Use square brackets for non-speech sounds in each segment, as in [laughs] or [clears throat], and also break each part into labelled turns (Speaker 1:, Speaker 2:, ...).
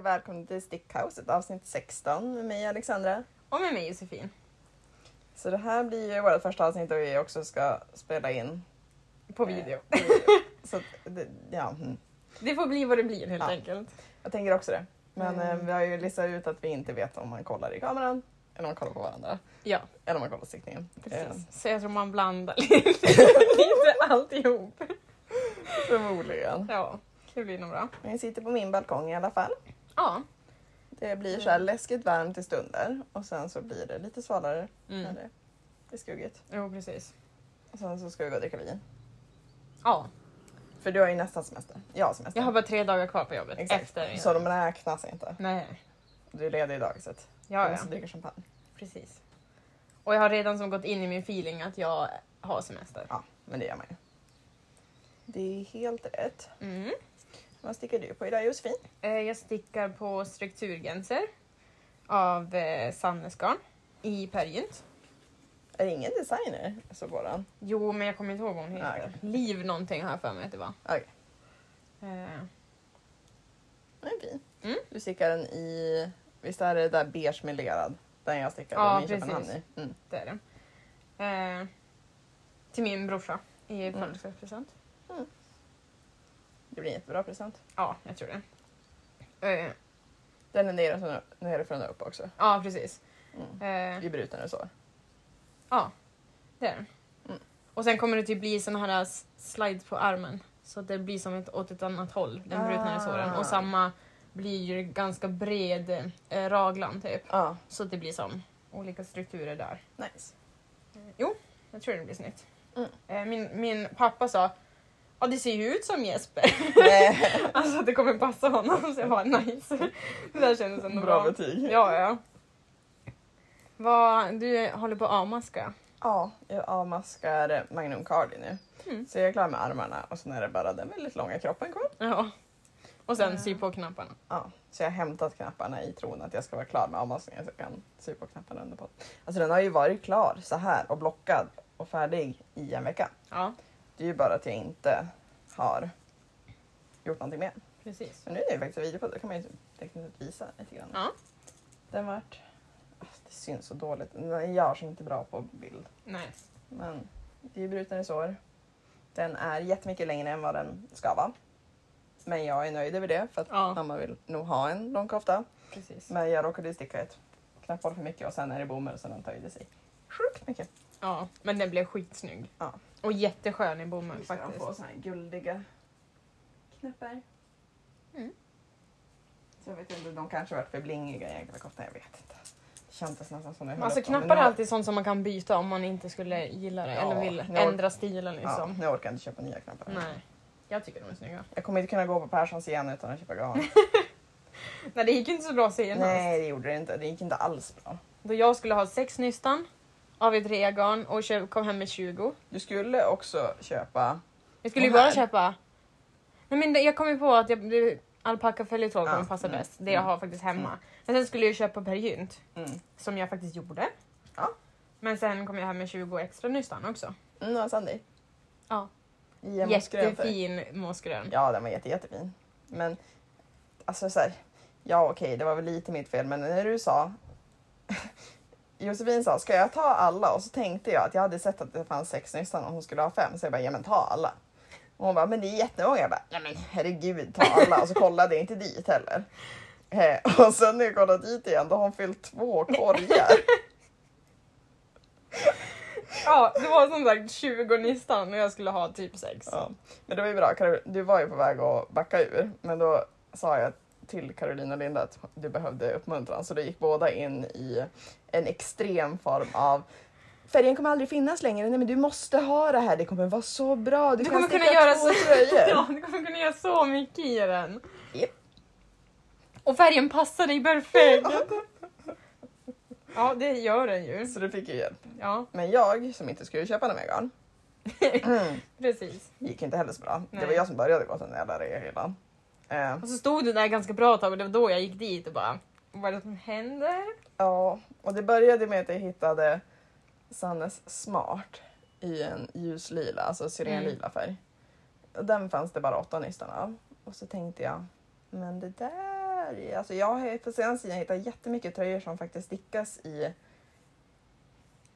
Speaker 1: välkommen till Stickhouset avsnitt 16 med mig Alexandra.
Speaker 2: Och med mig Josefin.
Speaker 1: Så det här blir ju vårt första avsnitt och vi också ska spela in.
Speaker 2: På
Speaker 1: Eh,
Speaker 2: video.
Speaker 1: [laughs] Så att det, ja, mm.
Speaker 2: Det får bli vad det blir helt
Speaker 1: Ja.
Speaker 2: enkelt.
Speaker 1: jag tänker också det. Men
Speaker 2: Mm.
Speaker 1: eh, vi har ju listat ut att vi inte vet om man kollar i kameran eller om man kollar på varandra.
Speaker 2: Ja,
Speaker 1: Eller om man kollar på stickningen. Eh,
Speaker 2: precis. Så jag tror man blandar [laughs] lite, lite alltihop.
Speaker 1: Eh, Förmodligen.
Speaker 2: Ja, det blir nog bra.
Speaker 1: Men jag sitter på min balkong i alla fall.
Speaker 2: Ja.
Speaker 1: Det blir så här
Speaker 2: Mm.
Speaker 1: läskigt varmt i stunder och sen så blir det lite svalare när
Speaker 2: Mm.
Speaker 1: det är skuggigt.
Speaker 2: Jo, precis.
Speaker 1: Och sen så ska vi gå och dricka vin.
Speaker 2: Ja,
Speaker 1: För du har ju nästan semester. Jag har semester.
Speaker 2: jag har bara tre dagar kvar på jobbet
Speaker 1: Exakt.
Speaker 2: efter.
Speaker 1: Så de räknas inte.
Speaker 2: Nej,
Speaker 1: Du är ledig i dagiset.
Speaker 2: ja,
Speaker 1: Du
Speaker 2: ja.
Speaker 1: måste dricka champagne.
Speaker 2: Precis. Och jag har redan som gått in i min feeling att jag har semester.
Speaker 1: Ja, men det gör man ju. Det är helt rätt.
Speaker 2: Mm.
Speaker 1: Vad stickar du på idag Josefin?
Speaker 2: Eh, Jag stickar på strukturgränser av eh, Sannesgarn i Pergynt.
Speaker 1: Är det ingen designer? Så går den.
Speaker 2: Jo, men jag kommer inte ihåg vad hon heter.
Speaker 1: Ah, okej.
Speaker 2: Liv någonting har jag för mig att det var.
Speaker 1: Okej,
Speaker 2: Eh,
Speaker 1: den är fin.
Speaker 2: Mm.
Speaker 1: Du stickar den i, visst är det där beige med lerad? Den jag stickade
Speaker 2: Ja,
Speaker 1: ja, min
Speaker 2: precis.
Speaker 1: Köpenhamn i. Mm.
Speaker 2: det är den. Eh, till min brorsa i
Speaker 1: Mm.
Speaker 2: födelsedagspresent.
Speaker 1: Det blir en jättebra present.
Speaker 2: Ja, jag tror det. Eh,
Speaker 1: Den är nere, nerifrån och upp också.
Speaker 2: ja, precis.
Speaker 1: Mm.
Speaker 2: Eh,
Speaker 1: I bruten och så.
Speaker 2: Ja, det är den.
Speaker 1: Mm.
Speaker 2: Och sen kommer det typ bli såna här s- slides på armen. Så att det blir som ett, åt ett annat håll, den brutnare såren.
Speaker 1: Ah.
Speaker 2: Och samma blir ju ganska bred eh, raglan typ.
Speaker 1: Ja,
Speaker 2: Så att det blir som olika strukturer där.
Speaker 1: nice.
Speaker 2: Mm. Jag tror det blir snyggt.
Speaker 1: Mm.
Speaker 2: Eh, min, min pappa sa Ja det ser ju ut som Jesper. [laughs] alltså att det kommer passa honom. Så jag bara nice. Det där kändes ändå bra.
Speaker 1: Bra betyg.
Speaker 2: Ja, ja. Vad, du håller på att avmaska.
Speaker 1: Ja, jag avmaskar Magnum Cardi nu.
Speaker 2: Mm.
Speaker 1: Så jag är klar med armarna och sen är det bara den väldigt långa kroppen kvar.
Speaker 2: Ja. Och sen
Speaker 1: Ja.
Speaker 2: sy på knapparna.
Speaker 1: Ja, så jag har hämtat knapparna i tron att jag ska vara klar med avmaskningen så jag kan sy på knapparna under på. Alltså den har ju varit klar så här och blockad och färdig i en vecka.
Speaker 2: Ja,
Speaker 1: Det är ju bara att jag inte har gjort någonting mer.
Speaker 2: precis.
Speaker 1: Men nu är det ju faktiskt en video på det, då kan man ju tekniskt visa lite grann.
Speaker 2: Ja.
Speaker 1: Den vart... Det syns så dåligt. Den görs inte bra på bild.
Speaker 2: Nej.
Speaker 1: Men det är ju bruten i sår. Den är jättemycket längre än vad den ska vara. Men jag är nöjd över det för att
Speaker 2: Ja.
Speaker 1: mamma vill nog ha en lång kofta.
Speaker 2: Precis.
Speaker 1: Men jag råkade ju sticka ett knapphål för mycket och sen är det bomull så den töjde sig sjukt mycket.
Speaker 2: Ja, men den blev skitsnygg.
Speaker 1: Ja.
Speaker 2: Och jätteskön i
Speaker 1: Nu
Speaker 2: bomull
Speaker 1: ska de
Speaker 2: faktiskt.
Speaker 1: få såna här guldiga knappar.
Speaker 2: Mm.
Speaker 1: Så jag vet inte, de kanske varit för blingiga i egna koftan, jag vet inte. Det kändes nästan som när jag höll
Speaker 2: Alltså
Speaker 1: upp dem, men
Speaker 2: knappar är
Speaker 1: nu-
Speaker 2: alltid sånt som man kan byta om man inte skulle gilla det
Speaker 1: Ja,
Speaker 2: eller vill
Speaker 1: nu-
Speaker 2: ändra stilen
Speaker 1: Ja,
Speaker 2: liksom.
Speaker 1: nu orkar jag inte köpa nya knappar.
Speaker 2: Nej. Jag tycker de är snygga.
Speaker 1: Jag kommer inte kunna gå på Perssons igen utan att köpa garn.
Speaker 2: Nej, [laughs] det gick inte så bra senast.
Speaker 1: Nej, det gjorde det inte. Det gick inte alls bra.
Speaker 2: Då jag skulle ha sex nystan av ett reagarn och köp, kom hem med 20.
Speaker 1: Du skulle också köpa...
Speaker 2: Jag skulle ju
Speaker 1: Och här.
Speaker 2: bara köpa... Nej men det- jag kom ju på att jag, det- alpacka följetråd kommer
Speaker 1: Ja,
Speaker 2: passa
Speaker 1: mm,
Speaker 2: bäst. Det jag
Speaker 1: mm,
Speaker 2: har faktiskt hemma.
Speaker 1: mm.
Speaker 2: Men sen skulle jag ju köpa Per Gynt,
Speaker 1: Mm.
Speaker 2: som jag faktiskt gjorde.
Speaker 1: Ja.
Speaker 2: Men sen kom jag hem med 20 extra nystan också.
Speaker 1: Mm, och Sandy.
Speaker 2: Ja.
Speaker 1: I en moskgrön färg.
Speaker 2: Jättefin mossgrön.
Speaker 1: Ja, den var jätte, jättefin. Men alltså så här, ja okej, det var väl lite mitt fel, men när du sa [laughs] Josefin sa, ska jag ta alla? Och så tänkte jag att jag hade sett att det fanns sex nystan och hon skulle ha fem, så jag bara, ja men ta alla. Och hon bara, men det är jättemånga. Jag bara, ja men herregud, ta alla. Och så kollade jag inte dit heller. [laughs] Eh, och sen när jag kollade dit igen, då har hon fyllt två korgar.
Speaker 2: Ja, det var som sagt 20 nystan och jag skulle ha typ 6.
Speaker 1: Ja. Men det var ju bra. Karol- Du var ju på väg att backa ur, men då sa jag till Karolina och Linda att du behövde uppmuntran, så då gick båda in i en extrem form av Färgen kommer aldrig finnas längre. Nej men du måste ha det här. Det kommer vara så bra. Du,
Speaker 2: Du
Speaker 1: kan
Speaker 2: kommer kunna
Speaker 1: sticka
Speaker 2: göra
Speaker 1: två
Speaker 2: så-
Speaker 1: tröjor.
Speaker 2: [laughs] Ja, du kommer kunna göra så mycket i den.
Speaker 1: Japp.
Speaker 2: Och färgen passar dig perfekt. Ja, det gör den ju.
Speaker 1: Så du fick ju hjälp.
Speaker 2: Ja, [laughs]
Speaker 1: Men jag som inte skulle köpa några mer garn
Speaker 2: precis.
Speaker 1: gick inte heller så bra. Det
Speaker 2: Mm. Nej.
Speaker 1: var jag som började gå till den jävla reahyllan. Eh,
Speaker 2: Och så stod du där ganska bra ett tag och det var då jag gick dit och bara vad är det som händer?
Speaker 1: Ja, och det började med att jag hittade Sannes Smart i en ljuslila, alltså
Speaker 2: Mm.
Speaker 1: syrenlila färg. Och den fanns det bara åtta nystan av. Och så tänkte jag, men det där färg. Alltså jag har på senaste tiden hittat jättemycket tröjor som faktiskt stickas i,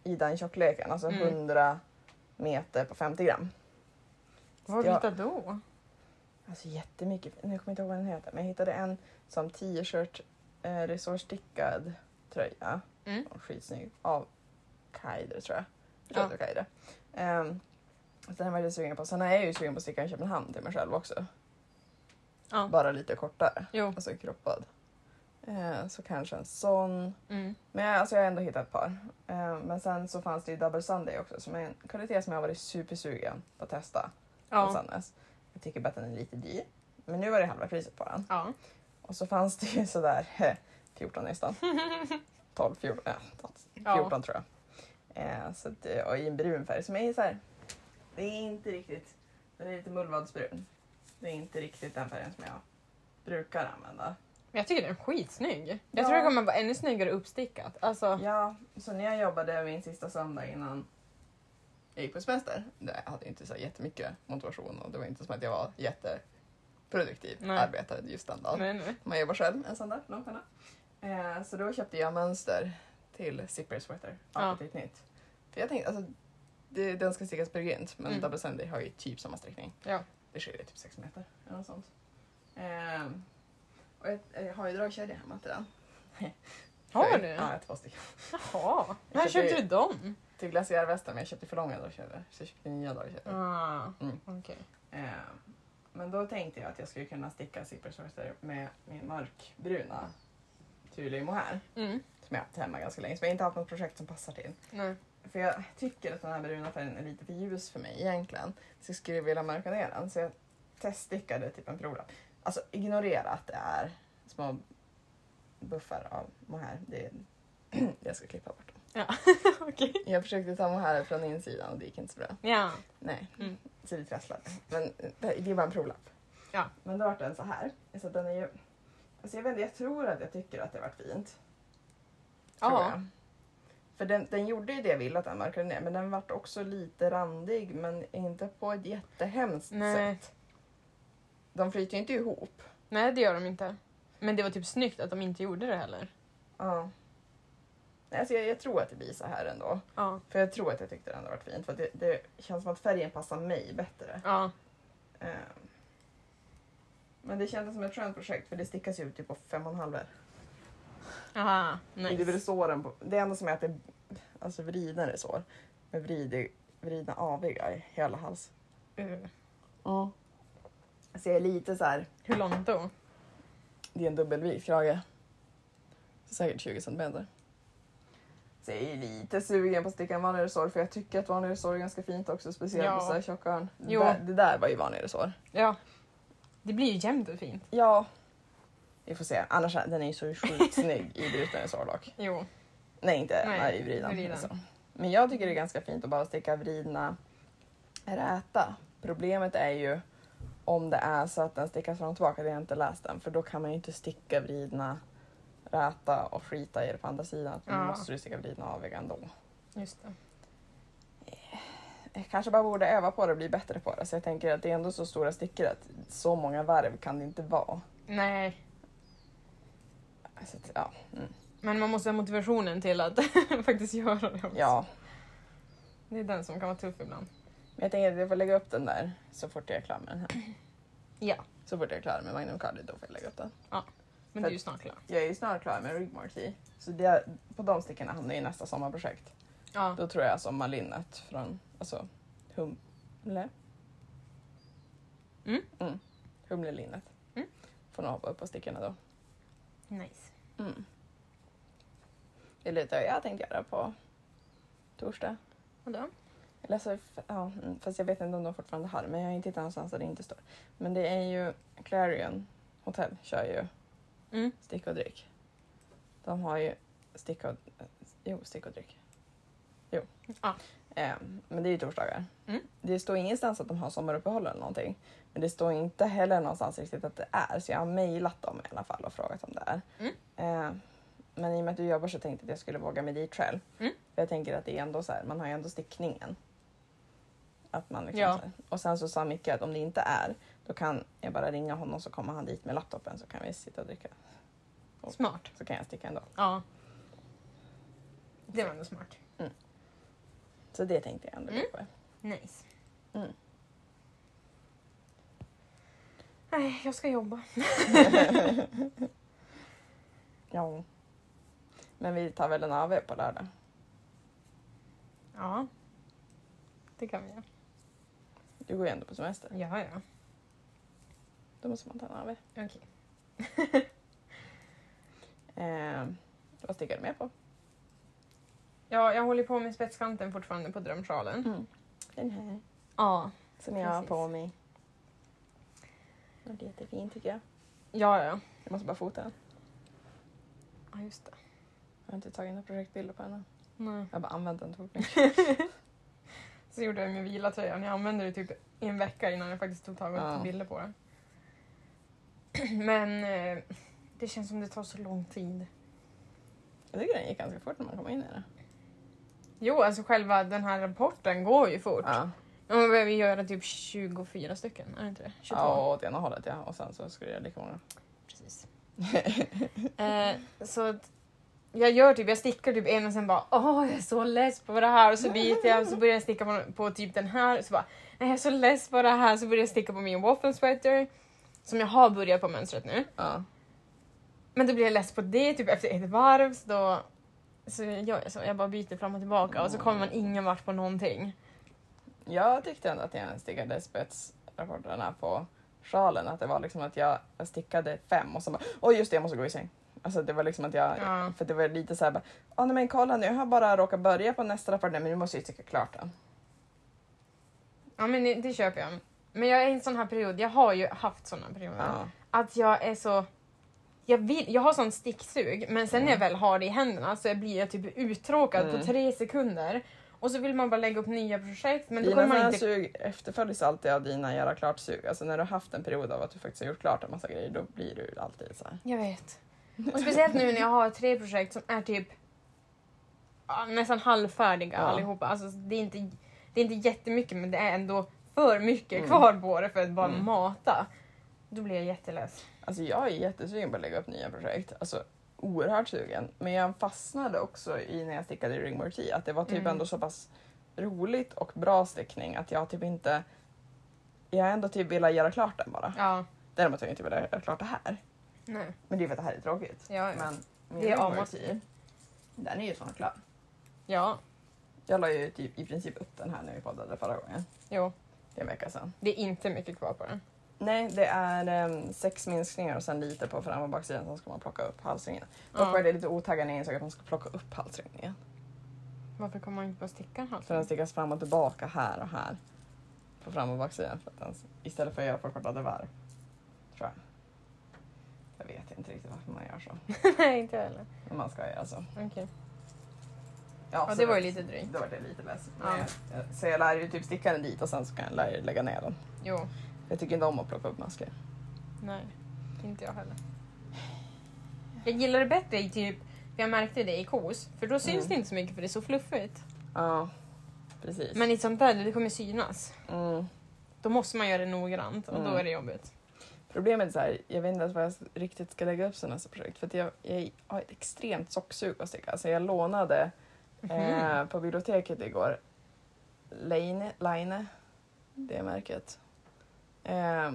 Speaker 1: i den tjockleken. Alltså
Speaker 2: Mm.
Speaker 1: 100 meter på 50 gram.
Speaker 2: Vad har du
Speaker 1: Ja.
Speaker 2: hittat då?
Speaker 1: Alltså jättemycket. Nu kommer jag inte ihåg vad den heter. Men jag hittade en som t-shirt eh, resårstickad tröja.
Speaker 2: Mm.
Speaker 1: Skitsnygg. Av Kaider tror jag. Jag
Speaker 2: Ja.
Speaker 1: tror att det var Kaider. Ehm, så den var jag lite sugen på. Sen är jag ju sugen på att sticka en Köpenhamn till mig själv också.
Speaker 2: Ja.
Speaker 1: Bara lite kortare.
Speaker 2: Jo.
Speaker 1: Alltså kroppad. Eh, så kanske en sån.
Speaker 2: Mm.
Speaker 1: Men jag, alltså jag har ändå hittat ett par. Eh, men sen så fanns det ju Double Sunday också som är en kvalitet som jag har varit supersugen på att testa. hos
Speaker 2: Ja.
Speaker 1: Sannes. Jag tycker bara att den är lite dyr. Men nu var det halva priset på den.
Speaker 2: ja.
Speaker 1: Och så fanns det ju [laughs] sådär eh, 14
Speaker 2: [laughs]
Speaker 1: nästan. 12, 14, eh, 12, 14
Speaker 2: Ja.
Speaker 1: tror jag. Eh, så att, eh, och i en brun färg som är så här. Det är inte riktigt, den är lite mullvadsbrun. Det är inte riktigt den färgen som jag brukar använda.
Speaker 2: Men jag tycker den är skitsnygg. Jag
Speaker 1: Ja.
Speaker 2: tror det kommer vara ännu snyggare uppstickat. Alltså,
Speaker 1: Ja, så när jag jobbade min sista söndag innan jag gick på semester, det- jag hade inte så här jättemycket motivation och det var inte som att jag var jätteproduktiv
Speaker 2: Nej.
Speaker 1: arbetare just den dagen.
Speaker 2: nej, nej.
Speaker 1: Man jobbar själv en söndag, långpanna. Eh, så då köpte jag mönster till zipper sweater,
Speaker 2: Ja.
Speaker 1: Appetit nytt. För jag tänkte, alltså, det, den ska stickas brillant men
Speaker 2: Mm.
Speaker 1: double sunday har ju typ samma sträckning.
Speaker 2: Ja.
Speaker 1: Det skiljer typ 6 meter eller något sånt. Ehm, och jag, jag har ju dragkedja hemma till den.
Speaker 2: Har
Speaker 1: Sorry.
Speaker 2: du?
Speaker 1: Ja, jag har två stycken.
Speaker 2: Jaha. När
Speaker 1: köpte
Speaker 2: köpte
Speaker 1: ju-
Speaker 2: du dem?
Speaker 1: till glaciärvästen men jag köpte för långa dragkedjor så jag köpte nya dragkedjor.
Speaker 2: Ah,
Speaker 1: Mm.
Speaker 2: okej.
Speaker 1: Eh, men då tänkte jag att jag skulle kunna sticka zippersweater med min mörkbruna Thule mohair
Speaker 2: Mm.
Speaker 1: som jag haft hemma ganska länge som jag inte haft något projekt som passar till.
Speaker 2: Nej.
Speaker 1: För jag tycker att den här bruna färgen är lite för ljus för mig egentligen så jag skulle vilja mörka ner den så jag teststickade typ en provlapp. Alltså ignorera att det är små buffar av mohair. Det är... [clears throat] jag ska klippa bort dem.
Speaker 2: Ja, [laughs] okej.
Speaker 1: Jag försökte ta mohair från insidan och det gick inte så bra.
Speaker 2: Ja.
Speaker 1: Nej,
Speaker 2: Mm.
Speaker 1: så det trasslar. Men det det är bara en provlapp.
Speaker 2: Ja.
Speaker 1: Men då vart den så här. Så den är ju... Alltså jag vet inte, jag tror att jag tycker att det vart fint. Tror
Speaker 2: Ja.
Speaker 1: jag. För den, den gjorde ju det jag ville att den mörkade ner men den vart också lite randig men inte på ett jättehemskt
Speaker 2: Nej.
Speaker 1: sätt. De flyter ju inte ihop.
Speaker 2: Nej, det gör de inte. Men det var typ snyggt att de inte gjorde det heller.
Speaker 1: Ja. Nej, alltså jag, jag tror att det blir så här ändå.
Speaker 2: Ja.
Speaker 1: För jag tror att jag tyckte det ändå vart fint. För att det, det känns som att färgen passar mig bättre.
Speaker 2: Ja.
Speaker 1: Ehm. Men det kändes som ett skönt projekt för det stickas ju ut typ på fem och en halv
Speaker 2: Aha,
Speaker 1: Det är väl
Speaker 2: nice.
Speaker 1: såren på, Det enda som är att det är alltså vridna resår. Med vrid, vridna aviga i hela hals.
Speaker 2: Uh,
Speaker 1: Ja. Så jag är lite så här.
Speaker 2: Hur långt då?
Speaker 1: Det är en dubbelvid krage. Säkert 20 centimeter. Så jag är lite sugen på att sticka en vanlig resår för jag tycker att vanlig resår är ganska fint också. Speciellt
Speaker 2: Ja.
Speaker 1: på så här tjocka hörn. Det
Speaker 2: Jo.
Speaker 1: där, det där var ju vanlig resår.
Speaker 2: Ja. Det blir ju jämnt och fint.
Speaker 1: Ja. Vi får se. Annars är- den är ju så sjukt snygg i bruten resårlock.
Speaker 2: Jo.
Speaker 1: Nej, inte
Speaker 2: Nej,
Speaker 1: nej, i vridan.
Speaker 2: vridan.
Speaker 1: Så. Men jag tycker det är ganska fint att bara sticka vridna räta. Problemet är ju om det är så att den stickas fram och tillbaka, det har jag inte läst den, för då kan man ju inte sticka vridna räta och skita i det på andra sidan. Då
Speaker 2: Ja.
Speaker 1: måste du sticka vridna aviga ändå.
Speaker 2: Just det.
Speaker 1: Jag kanske bara borde öva på det och bli bättre på det. Så jag tänker att det är ändå så stora stickor att så många varv kan det inte vara.
Speaker 2: Nej.
Speaker 1: Så att, ja. Mm.
Speaker 2: Men man måste ha motivationen till att [laughs] faktiskt göra det också.
Speaker 1: ja.
Speaker 2: Det är den som kan vara tuff ibland.
Speaker 1: Men jag tänker att jag får lägga upp den där så fort jag är klar med den här.
Speaker 2: [clears throat] Ja.
Speaker 1: Så fort jag är klar med Magnum Cardi, då får jag lägga upp den.
Speaker 2: Men du är ju snart klar.
Speaker 1: Jag är ju snart klar med Rigmore Tea. Så det, på de stickorna hamnar ju nästa sommarprojekt.
Speaker 2: Ja.
Speaker 1: Då tror jag sommarlinnet från alltså, Humle.
Speaker 2: Mm.
Speaker 1: Humlelinnet.
Speaker 2: Mm.
Speaker 1: Får nog hoppa upp på stickorna då.
Speaker 2: Nice.
Speaker 1: Det är lite jag tänkte göra på torsdag.
Speaker 2: Och då?
Speaker 1: Eller så, ja, mm, fast jag vet inte om de fortfarande har det, men jag har inte hittat någonstans där det inte står. Men det är ju Clarion Hotel kör ju
Speaker 2: Mm.
Speaker 1: stick och dryck. De har ju stick och, jo, stick och dryck. Jo.
Speaker 2: Ja.
Speaker 1: Ehm, men det är ju torsdagar.
Speaker 2: Mm.
Speaker 1: Det står ingenstans att de har sommaruppehåll eller någonting. Men det står inte heller någonstans riktigt att det är så jag har mejlat dem i alla fall och frågat om det är.
Speaker 2: Mm.
Speaker 1: Ehm, men i och med att du jobbar så tänkte jag att jag skulle våga mig dit själv.
Speaker 2: Mm.
Speaker 1: För jag tänker att det är ändå så här, man har ju ändå stickningen. Att man liksom
Speaker 2: Ja.
Speaker 1: så här. Och sen så sa Micke att om det inte är, då kan jag bara ringa honom så kommer han dit med laptopen så kan vi sitta och dricka Och
Speaker 2: Smart.
Speaker 1: så kan jag sticka ändå.
Speaker 2: Ja. Det var ändå smart.
Speaker 1: Så det tänkte jag ändå
Speaker 2: Mm.
Speaker 1: på. [laughs]
Speaker 2: Nice.
Speaker 1: Mm.
Speaker 2: Nej, jag ska jobba.
Speaker 1: Ja. Men vi tar väl en AW på lördag.
Speaker 2: Ja. Det kan vi göra.
Speaker 1: Du går ju ändå på semester.
Speaker 2: Ja, ja.
Speaker 1: Då måste man ta en AW.
Speaker 2: Okej.
Speaker 1: Eh, vad stickar du med på?
Speaker 2: Ja, jag håller på med spetskanten fortfarande på drömsjalen.
Speaker 1: Mm. Den här.
Speaker 2: Ja.
Speaker 1: Som jag har
Speaker 2: Mm. Precis.
Speaker 1: på mig. Och det är jättefint tycker jag.
Speaker 2: Ja, ja.
Speaker 1: Jag måste bara fota den.
Speaker 2: Ja, just det.
Speaker 1: Jag har inte tagit några projektbilder på den än.
Speaker 2: Nej.
Speaker 1: Jag har bara använt den till fotning.
Speaker 2: Så gjorde jag med vilatröjan. Jag använde det typ i en vecka innan jag faktiskt tog tag och
Speaker 1: Ja.
Speaker 2: tog bilder på det. [clears throat] Men eh, det känns som det tar så lång tid.
Speaker 1: Jag tycker den gick ganska fort när man kom in i den.
Speaker 2: Jo, alltså själva den här rapporten går ju fort.
Speaker 1: Ja,
Speaker 2: Ja, men vi gör typ 24 stycken, är det inte det? 22?
Speaker 1: ja åt ena hållet ja. Och sen så skulle jag göra lika många.
Speaker 2: [laughs] precis. eh, så att jag gör typ, jag stickar typ en och sen bara åh jag är så less på det här och så byter jag och så börjar jag sticka på, på typ den här och så bara nej jag är så less på det här så börjar jag sticka på min waffle sweater som jag har börjat på mönstret nu.
Speaker 1: Ja.
Speaker 2: Men då blir jag less på det typ efter ett varv så då så gör jag så, jag bara byter fram och tillbaka och så kommer man ingen vart på någonting.
Speaker 1: Jag tyckte ändå att jag stickade spetsrapporterna på sjalen. Att det var liksom att jag jag stickade fem och så bara, åh just det jag måste gå i säng. Alltså det var liksom att jag,
Speaker 2: Ja.
Speaker 1: för det var lite såhär bara, åh nej men kolla nu, jag har bara råkat börja på nästa rapport, nej men nu måste jag ju sticka klart den.
Speaker 2: Ja men det, det köper jag. Men jag är i en sån här period, jag har ju haft såna perioder.
Speaker 1: Ja.
Speaker 2: att jag är så... Jag, vill, jag har sån sticksug, men sen när jag väl har det i händerna så blir jag typ uttråkad
Speaker 1: Mm.
Speaker 2: på tre sekunder. Och så vill man bara lägga upp nya projekt, men då
Speaker 1: Dina
Speaker 2: kommer man
Speaker 1: sådana
Speaker 2: inte...
Speaker 1: sug efterföljs alltid av dina göra klart-sug. Alltså när du har haft en period av att du faktiskt har gjort klart en massa grejer, då blir du alltid så här.
Speaker 2: Jag vet. Och speciellt nu när jag har tre projekt som är typ ja, nästan halvfärdiga
Speaker 1: Ja.
Speaker 2: allihopa. Alltså, det, är inte, det är inte jättemycket, men det är ändå för mycket
Speaker 1: Mm.
Speaker 2: kvar på det för att bara
Speaker 1: Mm.
Speaker 2: mata. Då blir jag jätteless.
Speaker 1: Alltså jag är jättesugen på att lägga upp nya projekt. Alltså oerhört sugen. Men jag fastnade också i när jag stickade i Ringmore Tea att det var typ
Speaker 2: Mm.
Speaker 1: ändå så pass roligt och bra stickning att jag typ inte... Jag har ändå typ velat göra klart den bara.
Speaker 2: Ja.
Speaker 1: Däremot har jag inte velat göra klart det här.
Speaker 2: Nej.
Speaker 1: Men det är för att det här är tråkigt.
Speaker 2: Ja, ja.
Speaker 1: Men min
Speaker 2: Det är
Speaker 1: Ringmore
Speaker 2: avmattning.
Speaker 1: Tea, den är ju snart klar.
Speaker 2: ja.
Speaker 1: Jag la ju typ i princip upp den här när vi poddade förra gången.
Speaker 2: Jo.
Speaker 1: Det är en vecka sedan.
Speaker 2: Det är inte mycket kvar på den.
Speaker 1: Nej, det är em, sex minskningar och sen lite på fram och baksidan, sen ska man plocka upp halsringen. Dock var det lite otaggad när jag insåg att man ska plocka upp halsringen.
Speaker 2: Varför kommer man inte på att sticka en halsduk?
Speaker 1: För den stickas fram och tillbaka här och här. På fram och baksidan. För att den, istället för att göra förkortade varv. Tror jag. Jag vet inte riktigt varför man gör så.
Speaker 2: [laughs] Nej, inte jag heller.
Speaker 1: Men man ska göra så.
Speaker 2: Okej.
Speaker 1: så
Speaker 2: Ja, det var ju lite drygt.
Speaker 1: Då var det lite less.
Speaker 2: Ja.
Speaker 1: Men jag- Så jag lär ju typ sticka den dit och sen så kan jag lä- lägga ner den.
Speaker 2: Jo,
Speaker 1: Jag tycker inte om att plocka upp masker.
Speaker 2: nej. Inte jag heller. Jag gillar det bättre i typ, för jag märkte det i kos, för då syns
Speaker 1: Mm.
Speaker 2: det inte så mycket för det är så fluffigt.
Speaker 1: Ja, precis.
Speaker 2: Men liksom- i ett sånt där, det kommer synas.
Speaker 1: Mm.
Speaker 2: Då måste man göra det noggrant och då
Speaker 1: Mm.
Speaker 2: är det jobbigt.
Speaker 1: Problemet är så här, jag vet inte ens vad jag riktigt ska lägga upp sådana här projekt för att jag, jag har ett extremt socksug på att sticka. Så jag lånade
Speaker 2: Mhm.
Speaker 1: eh, på biblioteket igår Leine, Leine det märket, eh,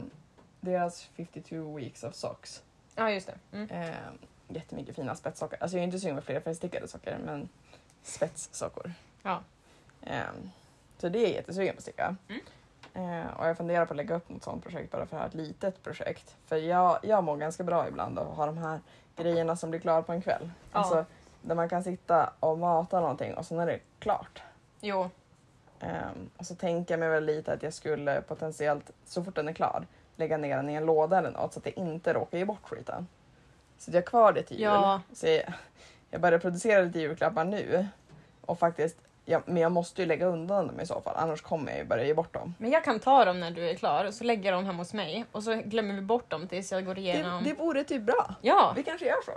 Speaker 1: deras 52 weeks of socks.
Speaker 2: Ja, just det. Mm.
Speaker 1: Eh, jättemycket fina spetssockor. Alltså jag är inte sugen på fler färgstickade sockor men spetssockor.
Speaker 2: Ja.
Speaker 1: Eh, så det är jag jättesugen på att sticka.
Speaker 2: Mm.
Speaker 1: Eh, och jag funderar på att lägga upp något sånt projekt bara för att ha ett litet projekt. För jag, jag mår ganska bra ibland av att ha de här grejerna som blir klara på en kväll.
Speaker 2: Ja.
Speaker 1: Alltså där man kan sitta och mata någonting och sen är det klart.
Speaker 2: Jo,
Speaker 1: Ehm, och så tänker jag mig väl lite att jag skulle potentiellt, så fort den är klar, lägga ner den i en låda eller något så att det inte råkar ge bort skiten. Så att jag har kvar det till jul.
Speaker 2: Ja.
Speaker 1: Så jag, jag börjar producera lite julklappar nu. Och faktiskt, ja, men jag måste ju lägga undan dem i så fall, annars kommer jag ju börja ge bort dem.
Speaker 2: men jag kan ta dem när du är klar och så lägger jag dem hemma hos mig och så glömmer vi bort dem tills jag går
Speaker 1: Det,
Speaker 2: igenom.
Speaker 1: det vore typ bra.
Speaker 2: Ja!
Speaker 1: Vi kanske gör så.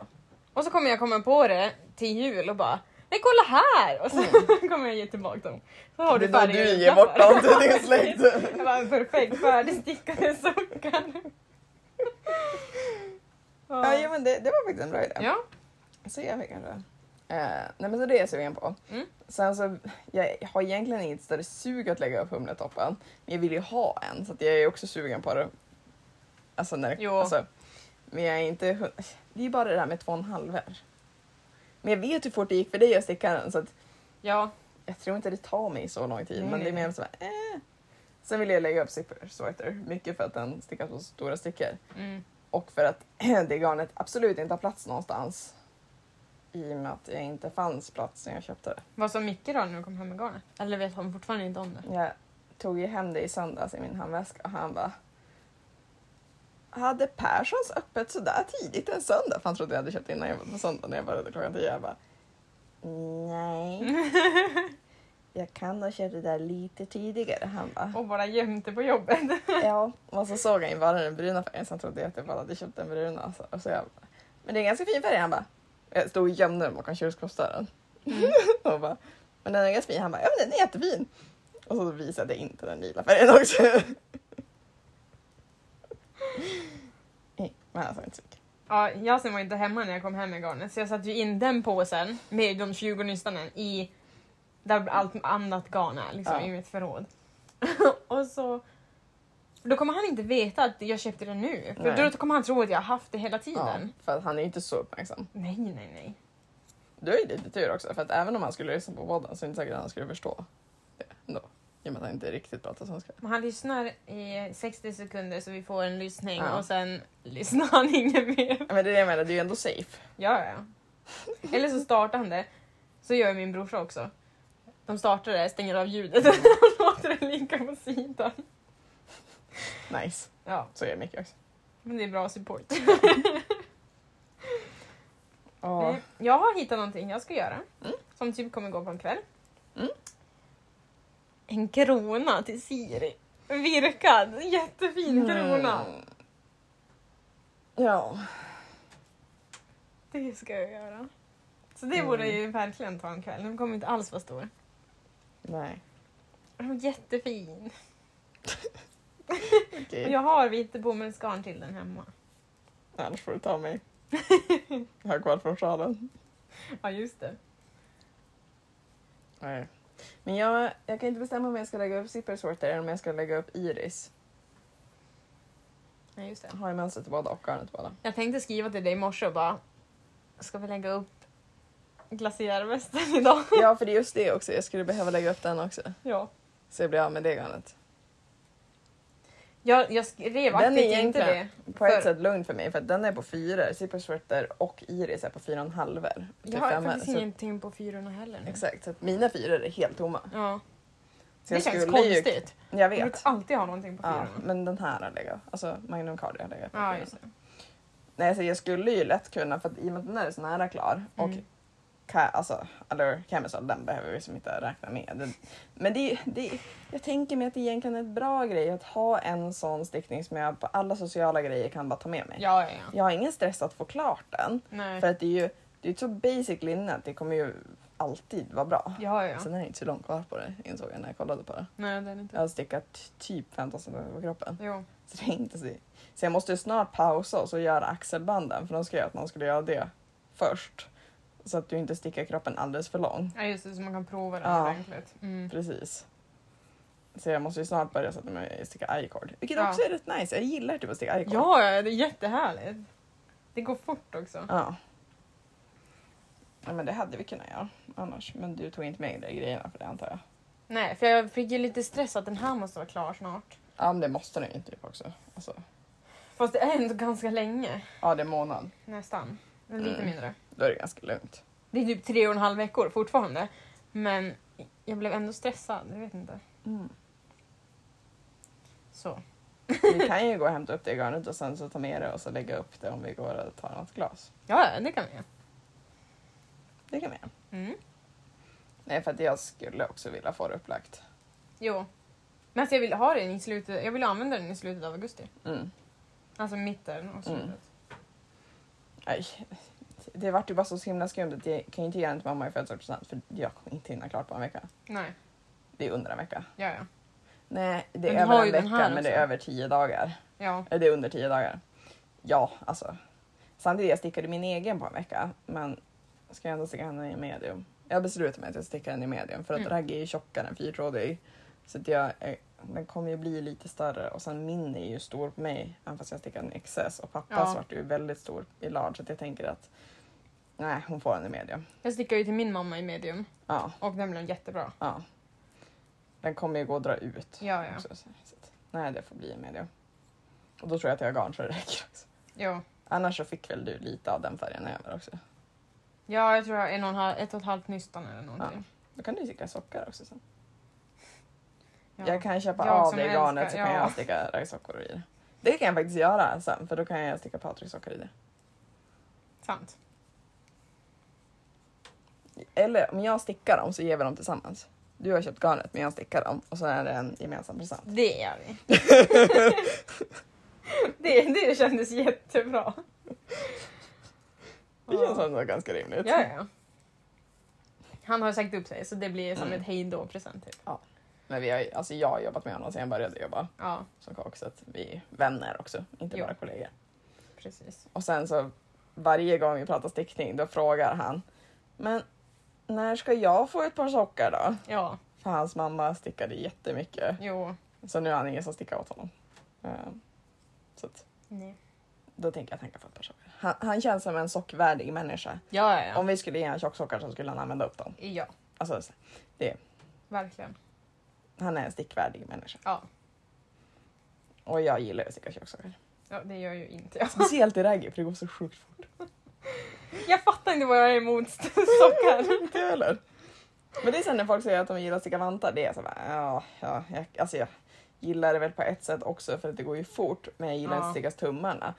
Speaker 2: Och så kommer jag komma på det till jul och bara Nej kolla här! Och så [laughs] kommer jag ge tillbaka dem. Så har
Speaker 1: Mm. det
Speaker 2: du
Speaker 1: är då
Speaker 2: färdiga
Speaker 1: du ger
Speaker 2: julklappar.
Speaker 1: bort dem till din släkt.
Speaker 2: [laughs] Det var en perfekt färdigstickade sockar.
Speaker 1: [laughs] Ja, jo, men det, det var faktiskt en bra idé.
Speaker 2: Ja.
Speaker 1: Så jag fick kanske. Eh, nej men så det är jag sugen på.
Speaker 2: Mm.
Speaker 1: Sen så, jag har egentligen inget större sug att lägga upp humletoppen. Men jag vill ju ha en så att jag är också sugen på det. Alltså när
Speaker 2: Jo.
Speaker 1: alltså, Men jag är inte hun- Det är ju bara det där med två och en halv här. Men jag vet hur fort det gick för dig att sticka den så att
Speaker 2: ja.
Speaker 1: jag tror inte det tar mig så lång tid.
Speaker 2: Nej,
Speaker 1: men det är
Speaker 2: nej.
Speaker 1: mer så här, eh. Sen vill jag lägga upp zipper sweater. Mycket för att den stickas på stora stickor.
Speaker 2: Mm.
Speaker 1: Och för att [clears throat] det garnet absolut inte har plats någonstans. I och med att det inte fanns plats när jag köpte det.
Speaker 2: Vad sa Micke då när du kom hem med garnet? Eller vet han fortfarande inte om det?
Speaker 1: Jag tog ju hem det i söndags i min handväska och han bara hade Perssons öppet sådär tidigt en söndag? För han trodde jag hade köpt innan jag på söndag när jag började klockan tio. Jag bara, nej. Jag kan ha köpt det där lite tidigare. Han bara,
Speaker 2: Och bara gömt det på jobbet.
Speaker 1: Ja, [laughs] och så såg han ju bara den bruna färgen så han trodde att jag bara hade köpt den bruna. Alltså. Och så jag, bara, men det är en ganska fin färg. Han bara, jag stod och gömde den bakom kylskåpsdörren. [laughs] och bara, men den är ganska fin. Han bara, ja men den är jättefin. Och så visade jag inte den lila färgen också. Nej, men han sa inte så mycket.
Speaker 2: Ja, Yasin var inte hemma när jag kom hem med garnet så jag satte ju in den påsen med de 20 nystanen i där allt annat garn är, liksom,
Speaker 1: Ja.
Speaker 2: i mitt förråd. [laughs] och så... Då kommer han inte veta att jag köpte det nu. För
Speaker 1: Nej.
Speaker 2: då kommer han tro att jag har haft det hela
Speaker 1: Ja,
Speaker 2: tiden.
Speaker 1: för att han är ju inte så uppmärksam.
Speaker 2: Nej, nej, nej.
Speaker 1: Du har ju lite tur också, för att även om han skulle lyssna på podden så är det inte säkert att han skulle förstå det ändå. I och med att han inte riktigt pratar svenska.
Speaker 2: Men han lyssnar i 60 sekunder så vi får en lyssning
Speaker 1: Ja.
Speaker 2: och sen lyssnar han [laughs] inget mer.
Speaker 1: Men det är det jag menar, det är ju ändå safe.
Speaker 2: Ja, ja. Eller så startar han det. Så gör min brorsa också. De startar det, stänger av ljudet [laughs] och låter det ligga på sidan.
Speaker 1: Nice.
Speaker 2: Ja,
Speaker 1: Så är mycket också.
Speaker 2: men det är bra support.
Speaker 1: Ja.
Speaker 2: Eh, Jag har hittat någonting jag ska göra.
Speaker 1: Mm.
Speaker 2: Som typ kommer gå på en kväll.
Speaker 1: Mm.
Speaker 2: En krona till Siri. Virkad, jättefin krona.
Speaker 1: Mm. Ja.
Speaker 2: Det ska jag göra. Så det
Speaker 1: Mm.
Speaker 2: borde jag ju verkligen ta en kväll. Den kommer inte alls vara stor.
Speaker 1: Nej.
Speaker 2: Den var jättefin.
Speaker 1: Okej.
Speaker 2: Och jag har vitt bomullsgarn till den hemma.
Speaker 1: Annars får du ta
Speaker 2: [laughs]
Speaker 1: mig. jag har kvar från sjalen.
Speaker 2: Ja, just det.
Speaker 1: Nej. Men jag, jag kan inte bestämma om jag ska lägga upp zipper sorter eller om jag ska lägga upp iris.
Speaker 2: Ja, just det.
Speaker 1: Jag har ju mönstret till båda och garnet till
Speaker 2: [laughs]
Speaker 1: båda.
Speaker 2: Jag tänkte skriva till dig i morse och bara, ska vi lägga upp glaciärvästen idag?
Speaker 1: Ja, för det är just det också. Jag skulle behöva lägga upp den också.
Speaker 2: [laughs] Ja.
Speaker 1: Så jag blir av med det garnet.
Speaker 2: Jag, jag skrev
Speaker 1: Den är
Speaker 2: aktivt inte
Speaker 1: egentligen-
Speaker 2: det.
Speaker 1: På ett
Speaker 2: För-
Speaker 1: sätt lugnt för mig för att den är på fyra. Zipper sorter och iris är på fyra och en halver. Till
Speaker 2: Jag har
Speaker 1: femmor.
Speaker 2: faktiskt
Speaker 1: Så-
Speaker 2: ingenting på fyrorna heller nu.
Speaker 1: Exakt, så att mina fyror är helt tomma.
Speaker 2: Ja.
Speaker 1: Så
Speaker 2: Det
Speaker 1: jag
Speaker 2: känns
Speaker 1: skulle ju-
Speaker 2: konstigt.
Speaker 1: Jag
Speaker 2: Jag Ah,
Speaker 1: vet.
Speaker 2: brukar alltid ha någonting på
Speaker 1: Ja,
Speaker 2: fyrorna.
Speaker 1: men den här har legat. Alltså Magnum Cardi har legat. på
Speaker 2: Ah, Ja,
Speaker 1: fyran.
Speaker 2: just det. Mm.
Speaker 1: Nej, så jag skulle ju lätt kunna, för att i och med att den här är så nära klar och
Speaker 2: Mm.
Speaker 1: ka, alltså, eller Camisol, den behöver vi liksom inte räkna med. Det, men det, det, jag tänker mig att det egentligen är en bra grej att ha en sån stickning som jag på alla sociala grejer kan bara ta med mig.
Speaker 2: Ja, ja, ja.
Speaker 1: Jag har ingen stress att få klart den,
Speaker 2: Nej.
Speaker 1: för att det är ju det är ett så basic linne att det kommer ju alltid vara bra.
Speaker 2: Ja, ja, ja.
Speaker 1: Sen är det inte så långt kvar på det, insåg jag när jag kollade på det.
Speaker 2: Nej, den är inte...
Speaker 1: Jag har stickat typ 15 centimeter på kroppen.
Speaker 2: Jo.
Speaker 1: Så det är inte så... så jag måste ju snart pausa och så göra axelbanden för de skrev att man skulle göra det först. Så att du inte stickar kroppen alldeles för lång.
Speaker 2: Ja, just det, så man kan prova den
Speaker 1: Ja.
Speaker 2: ordentligt. Mm.
Speaker 1: Precis. Så jag måste ju snart börja sätta mig och sticka i-cord. Vilket
Speaker 2: Ja.
Speaker 1: också är rätt nice. Jag gillar typ att sticka i-cord.
Speaker 2: Ja, ja, det är jättehärligt. Det går fort också.
Speaker 1: ja. Ja, men det hade vi kunnat göra annars. Men du tog inte med dig grejerna för det antar jag.
Speaker 2: Nej, för jag fick ju lite stress att den här måste vara klar snart.
Speaker 1: Ja men det måste den ju typ också. Alltså,
Speaker 2: Fast det är ändå ganska länge.
Speaker 1: ja det är en månad.
Speaker 2: Nästan. Men lite
Speaker 1: Mm.
Speaker 2: mindre.
Speaker 1: Då är det ganska lugnt.
Speaker 2: Det är typ tre och en halv veckor fortfarande. Men jag blev ändå stressad. Jag vet inte. Så.
Speaker 1: Vi kan ju gå och hämta upp det garnet och sen så ta med det och så lägga upp det om vi går och tar något glas.
Speaker 2: Ja, ja, det kan vi göra.
Speaker 1: Det kan vi göra.
Speaker 2: Mm.
Speaker 1: Nej, för att jag skulle också vilja få det upplagt.
Speaker 2: Jo. Men alltså jag vill ha den i slutet, jag vill använda den i slutet av augusti.
Speaker 1: Mm.
Speaker 2: Alltså mitten och slutet.
Speaker 1: Mm. Aj. Det vart ju bara så himla skumt att jag kan ju inte ge den till mamma i födelsedagspresent för jag kommer inte hinna klart på en vecka.
Speaker 2: Nej,
Speaker 1: Det är under en vecka.
Speaker 2: ja ja.
Speaker 1: Nej, det
Speaker 2: Men
Speaker 1: är
Speaker 2: du har
Speaker 1: över
Speaker 2: ju
Speaker 1: en
Speaker 2: den
Speaker 1: vecka
Speaker 2: här
Speaker 1: men det
Speaker 2: också.
Speaker 1: är över tio dagar.
Speaker 2: Ja,
Speaker 1: Eller det är under tio dagar. Ja, alltså. Samtidigt jag stickade min egen på en vecka men ska jag ändå sticka henne i medium. Jag beslutade mig att jag stickar henne i medium för att
Speaker 2: Mm.
Speaker 1: ragg är ju tjockare än fyrtrådig. Så att jag, är- den kommer ju bli lite större och sen min är ju stor på mig även fast jag stickade en XS och pappas
Speaker 2: Ja.
Speaker 1: vart ju väldigt stor i large så att jag tänker att nej hon får den i medium.
Speaker 2: Jag stickade ju till min mamma i medium
Speaker 1: Ja,
Speaker 2: och den blev jättebra.
Speaker 1: ja. Den kommer ju gå att dra ut.
Speaker 2: Ja, ja.
Speaker 1: också, så att- nej det får bli i medium. Och då tror jag att jag har garn så det räcker. Också.
Speaker 2: Jo.
Speaker 1: Annars så fick väl du lite av den färgen över också.
Speaker 2: Ja, jag tror jag har en och en halv, ett och ett halvt nystan eller någonting.
Speaker 1: Då kan du ju sticka sockar också sen.
Speaker 2: Ja.
Speaker 1: Jag kan köpa
Speaker 2: Jag
Speaker 1: av
Speaker 2: som
Speaker 1: dig garnet så
Speaker 2: älskar-
Speaker 1: kan
Speaker 2: ja.
Speaker 1: jag sticka raggsockor i det. Det kan jag faktiskt göra sen för då kan jag sticka Patrick-sockor i det.
Speaker 2: Sant.
Speaker 1: Eller om jag stickar dem så ger vi dem tillsammans. Du har köpt garnet men jag stickar dem och så är det en gemensam present.
Speaker 2: Det gör
Speaker 1: [laughs]
Speaker 2: vi. det, det kändes jättebra.
Speaker 1: Det känns ändå ganska rimligt.
Speaker 2: Ja, ja. Han har sagt upp sig så det blir som
Speaker 1: Mm.
Speaker 2: ett hejdå-present. Typ.
Speaker 1: Men vi har, ju- alltså jag har jobbat med honom sedan jag började jobba
Speaker 2: Ja,
Speaker 1: som kock så att vi är vänner också, inte
Speaker 2: Jo.
Speaker 1: bara kollegor.
Speaker 2: precis.
Speaker 1: Och sen så varje gång vi pratar stickning då frågar han Men när ska jag få ett par sockor då?
Speaker 2: Ja,
Speaker 1: För hans mamma stickade jättemycket.
Speaker 2: jo.
Speaker 1: Så nu har han ingen som stickar åt honom. Ehm, Så att,
Speaker 2: Nej.
Speaker 1: då tänker jag tänka på ett par sockor. Han, han känns som en sockvärdig människa.
Speaker 2: Ja, ja,
Speaker 1: Om vi skulle ge honom tjocksockar så skulle han använda upp dem.
Speaker 2: ja. Ja,
Speaker 1: Alltså, så-
Speaker 2: verkligen.
Speaker 1: han är en stickvärdig människa.
Speaker 2: Ja.
Speaker 1: Och jag gillar ju att sticka tjocksockar.
Speaker 2: ja, det gör ju inte jag. [laughs]
Speaker 1: Speciellt i raggy för det går så sjukt fort.
Speaker 2: Jag fattar inte vad jag är
Speaker 1: [laughs]
Speaker 2: emot sockar.
Speaker 1: Inte jag heller. Men det är sen när folk säger att de gillar att sticka vantar. Det är så bara, ja, ja, jag, alltså jag gillar det väl på ett sätt också för att det går ju fort. Men jag gillar
Speaker 2: Ja.
Speaker 1: inte att sticka tummarna.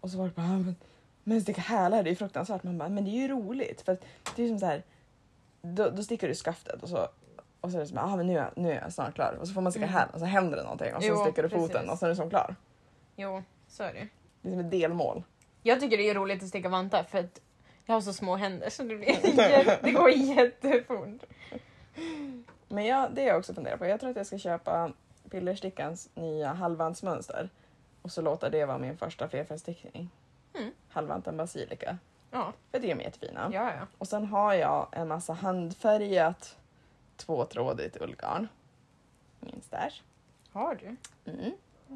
Speaker 1: Och så var det bara, "Ja, men, men sticka hälar det är ju fruktansvärt. Man bara, men det är ju roligt. För att det är ju som så här, då, då stickar du skaftet och så och så är det som, ah, men nu, är jag- nu är jag snart klar. Och så får man sticka
Speaker 2: Mm.
Speaker 1: hälen och så händer det någonting och så
Speaker 2: Jo,
Speaker 1: sticker du foten
Speaker 2: precis.
Speaker 1: och så är du som klar.
Speaker 2: Jo, så är det
Speaker 1: Det är som ett delmål.
Speaker 2: Jag tycker det är roligt att sticka vantar för att jag har så små händer
Speaker 1: [laughs]
Speaker 2: så det, blir jä- det går jättefort.
Speaker 1: Men jag, det har jag också funderat på. Jag tror att jag ska köpa Pillerstickans nya halvvantsmönster och så låta det vara min första flerfärgstickning.
Speaker 2: Mm.
Speaker 1: Halvvanten basilika.
Speaker 2: Ja,
Speaker 1: För det är jättefina.
Speaker 2: ja, ja.
Speaker 1: Och sen har jag en massa handfärgat tvåtrådigt ullgarn. Min stash.
Speaker 2: Har du?
Speaker 1: Mm.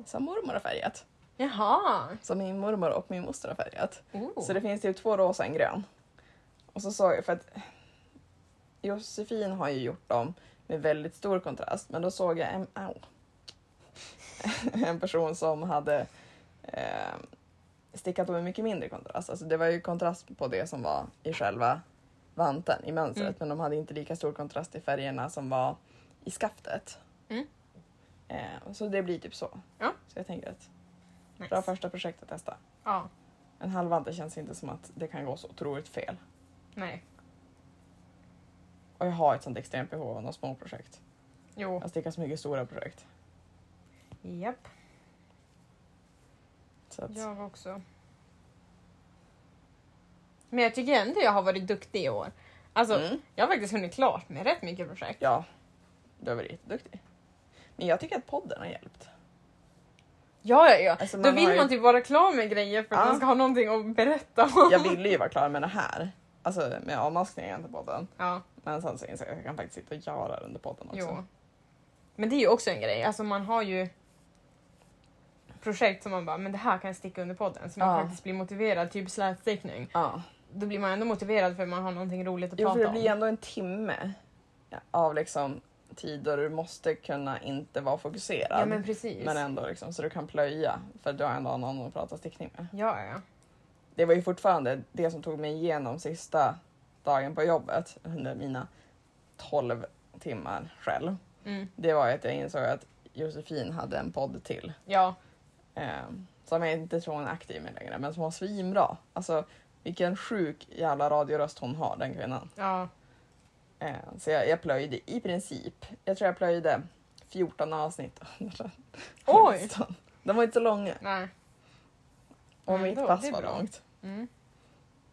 Speaker 1: Som mormor har färgat.
Speaker 2: Jaha.
Speaker 1: Som min mormor och min moster har färgat.
Speaker 2: Oh.
Speaker 1: Så det finns typ två rosa och en grön. Och så såg jag, för att Josefin har ju gjort dem med väldigt stor kontrast, men då såg jag en, au, [laughs] en person som hade eh, stickat dem med mycket mindre kontrast. Alltså det var ju kontrast på det som var i själva vanten, i mönstret,
Speaker 2: Mm.
Speaker 1: men de hade inte lika stor kontrast i färgerna som var i skaftet.
Speaker 2: Mm.
Speaker 1: Eh, så det blir typ så.
Speaker 2: Ja.
Speaker 1: Så jag tänker att bra
Speaker 2: nice.
Speaker 1: första projekt att testa.
Speaker 2: Ja,
Speaker 1: En halvvante känns inte som att det kan gå så otroligt fel.
Speaker 2: nej.
Speaker 1: Och jag har ett sånt extremt behov av några små projekt.
Speaker 2: Jo.
Speaker 1: Jag stickar så mycket stora projekt.
Speaker 2: Japp.
Speaker 1: Så att,
Speaker 2: Jag också. Men jag tycker ändå jag har varit duktig i år. Alltså,
Speaker 1: Mm.
Speaker 2: jag har faktiskt hunnit klart med rätt mycket projekt.
Speaker 1: ja, du har varit jätteduktig. Men jag tycker att podden har hjälpt.
Speaker 2: Ja, ja, ja.
Speaker 1: Alltså,
Speaker 2: Då
Speaker 1: man har
Speaker 2: vill
Speaker 1: ju-
Speaker 2: man typ vara klar med grejer för att
Speaker 1: Ja.
Speaker 2: man ska ha någonting att berätta om.
Speaker 1: [laughs] Jag ville ju vara klar med det här, alltså med avmaskningen till podden.
Speaker 2: Ja,
Speaker 1: Men sen så insåg jag att jag kan faktiskt sitta och göra det under podden också.
Speaker 2: jo. Men det är ju också en grej, alltså man har ju projekt som man bara, men det här kan jag sticka under podden. Så man
Speaker 1: Ja.
Speaker 2: faktiskt blir motiverad, typ slätstickning.
Speaker 1: Ja.
Speaker 2: Då blir man ändå motiverad för man har någonting roligt att
Speaker 1: Jo, för
Speaker 2: prata
Speaker 1: det
Speaker 2: om.
Speaker 1: blir ändå en timme av liksom tid då du måste kunna inte vara fokuserad.
Speaker 2: Ja men precis.
Speaker 1: men ändå liksom, så du kan plöja för du har ändå någon att prata stickning med.
Speaker 2: Ja, ja.
Speaker 1: det var ju fortfarande det som tog mig igenom sista dagen på jobbet under mina 12 timmar själv.
Speaker 2: Mm.
Speaker 1: Det var ju att jag insåg att Josefin hade en podd till
Speaker 2: Ja,
Speaker 1: eh, som jag inte tror hon är aktiv med längre, men som var svinbra. Alltså vilken sjuk jävla radioröst hon har, den kvinnan.
Speaker 2: ja.
Speaker 1: Eh, så jag, jag plöjde i princip, jag tror jag plöjde 14 avsnitt. [laughs]
Speaker 2: Oj!
Speaker 1: De var inte så långa
Speaker 2: Nej.
Speaker 1: och
Speaker 2: Men
Speaker 1: mitt
Speaker 2: ändå, det
Speaker 1: pass
Speaker 2: är
Speaker 1: var
Speaker 2: bra.
Speaker 1: långt.
Speaker 2: Mm.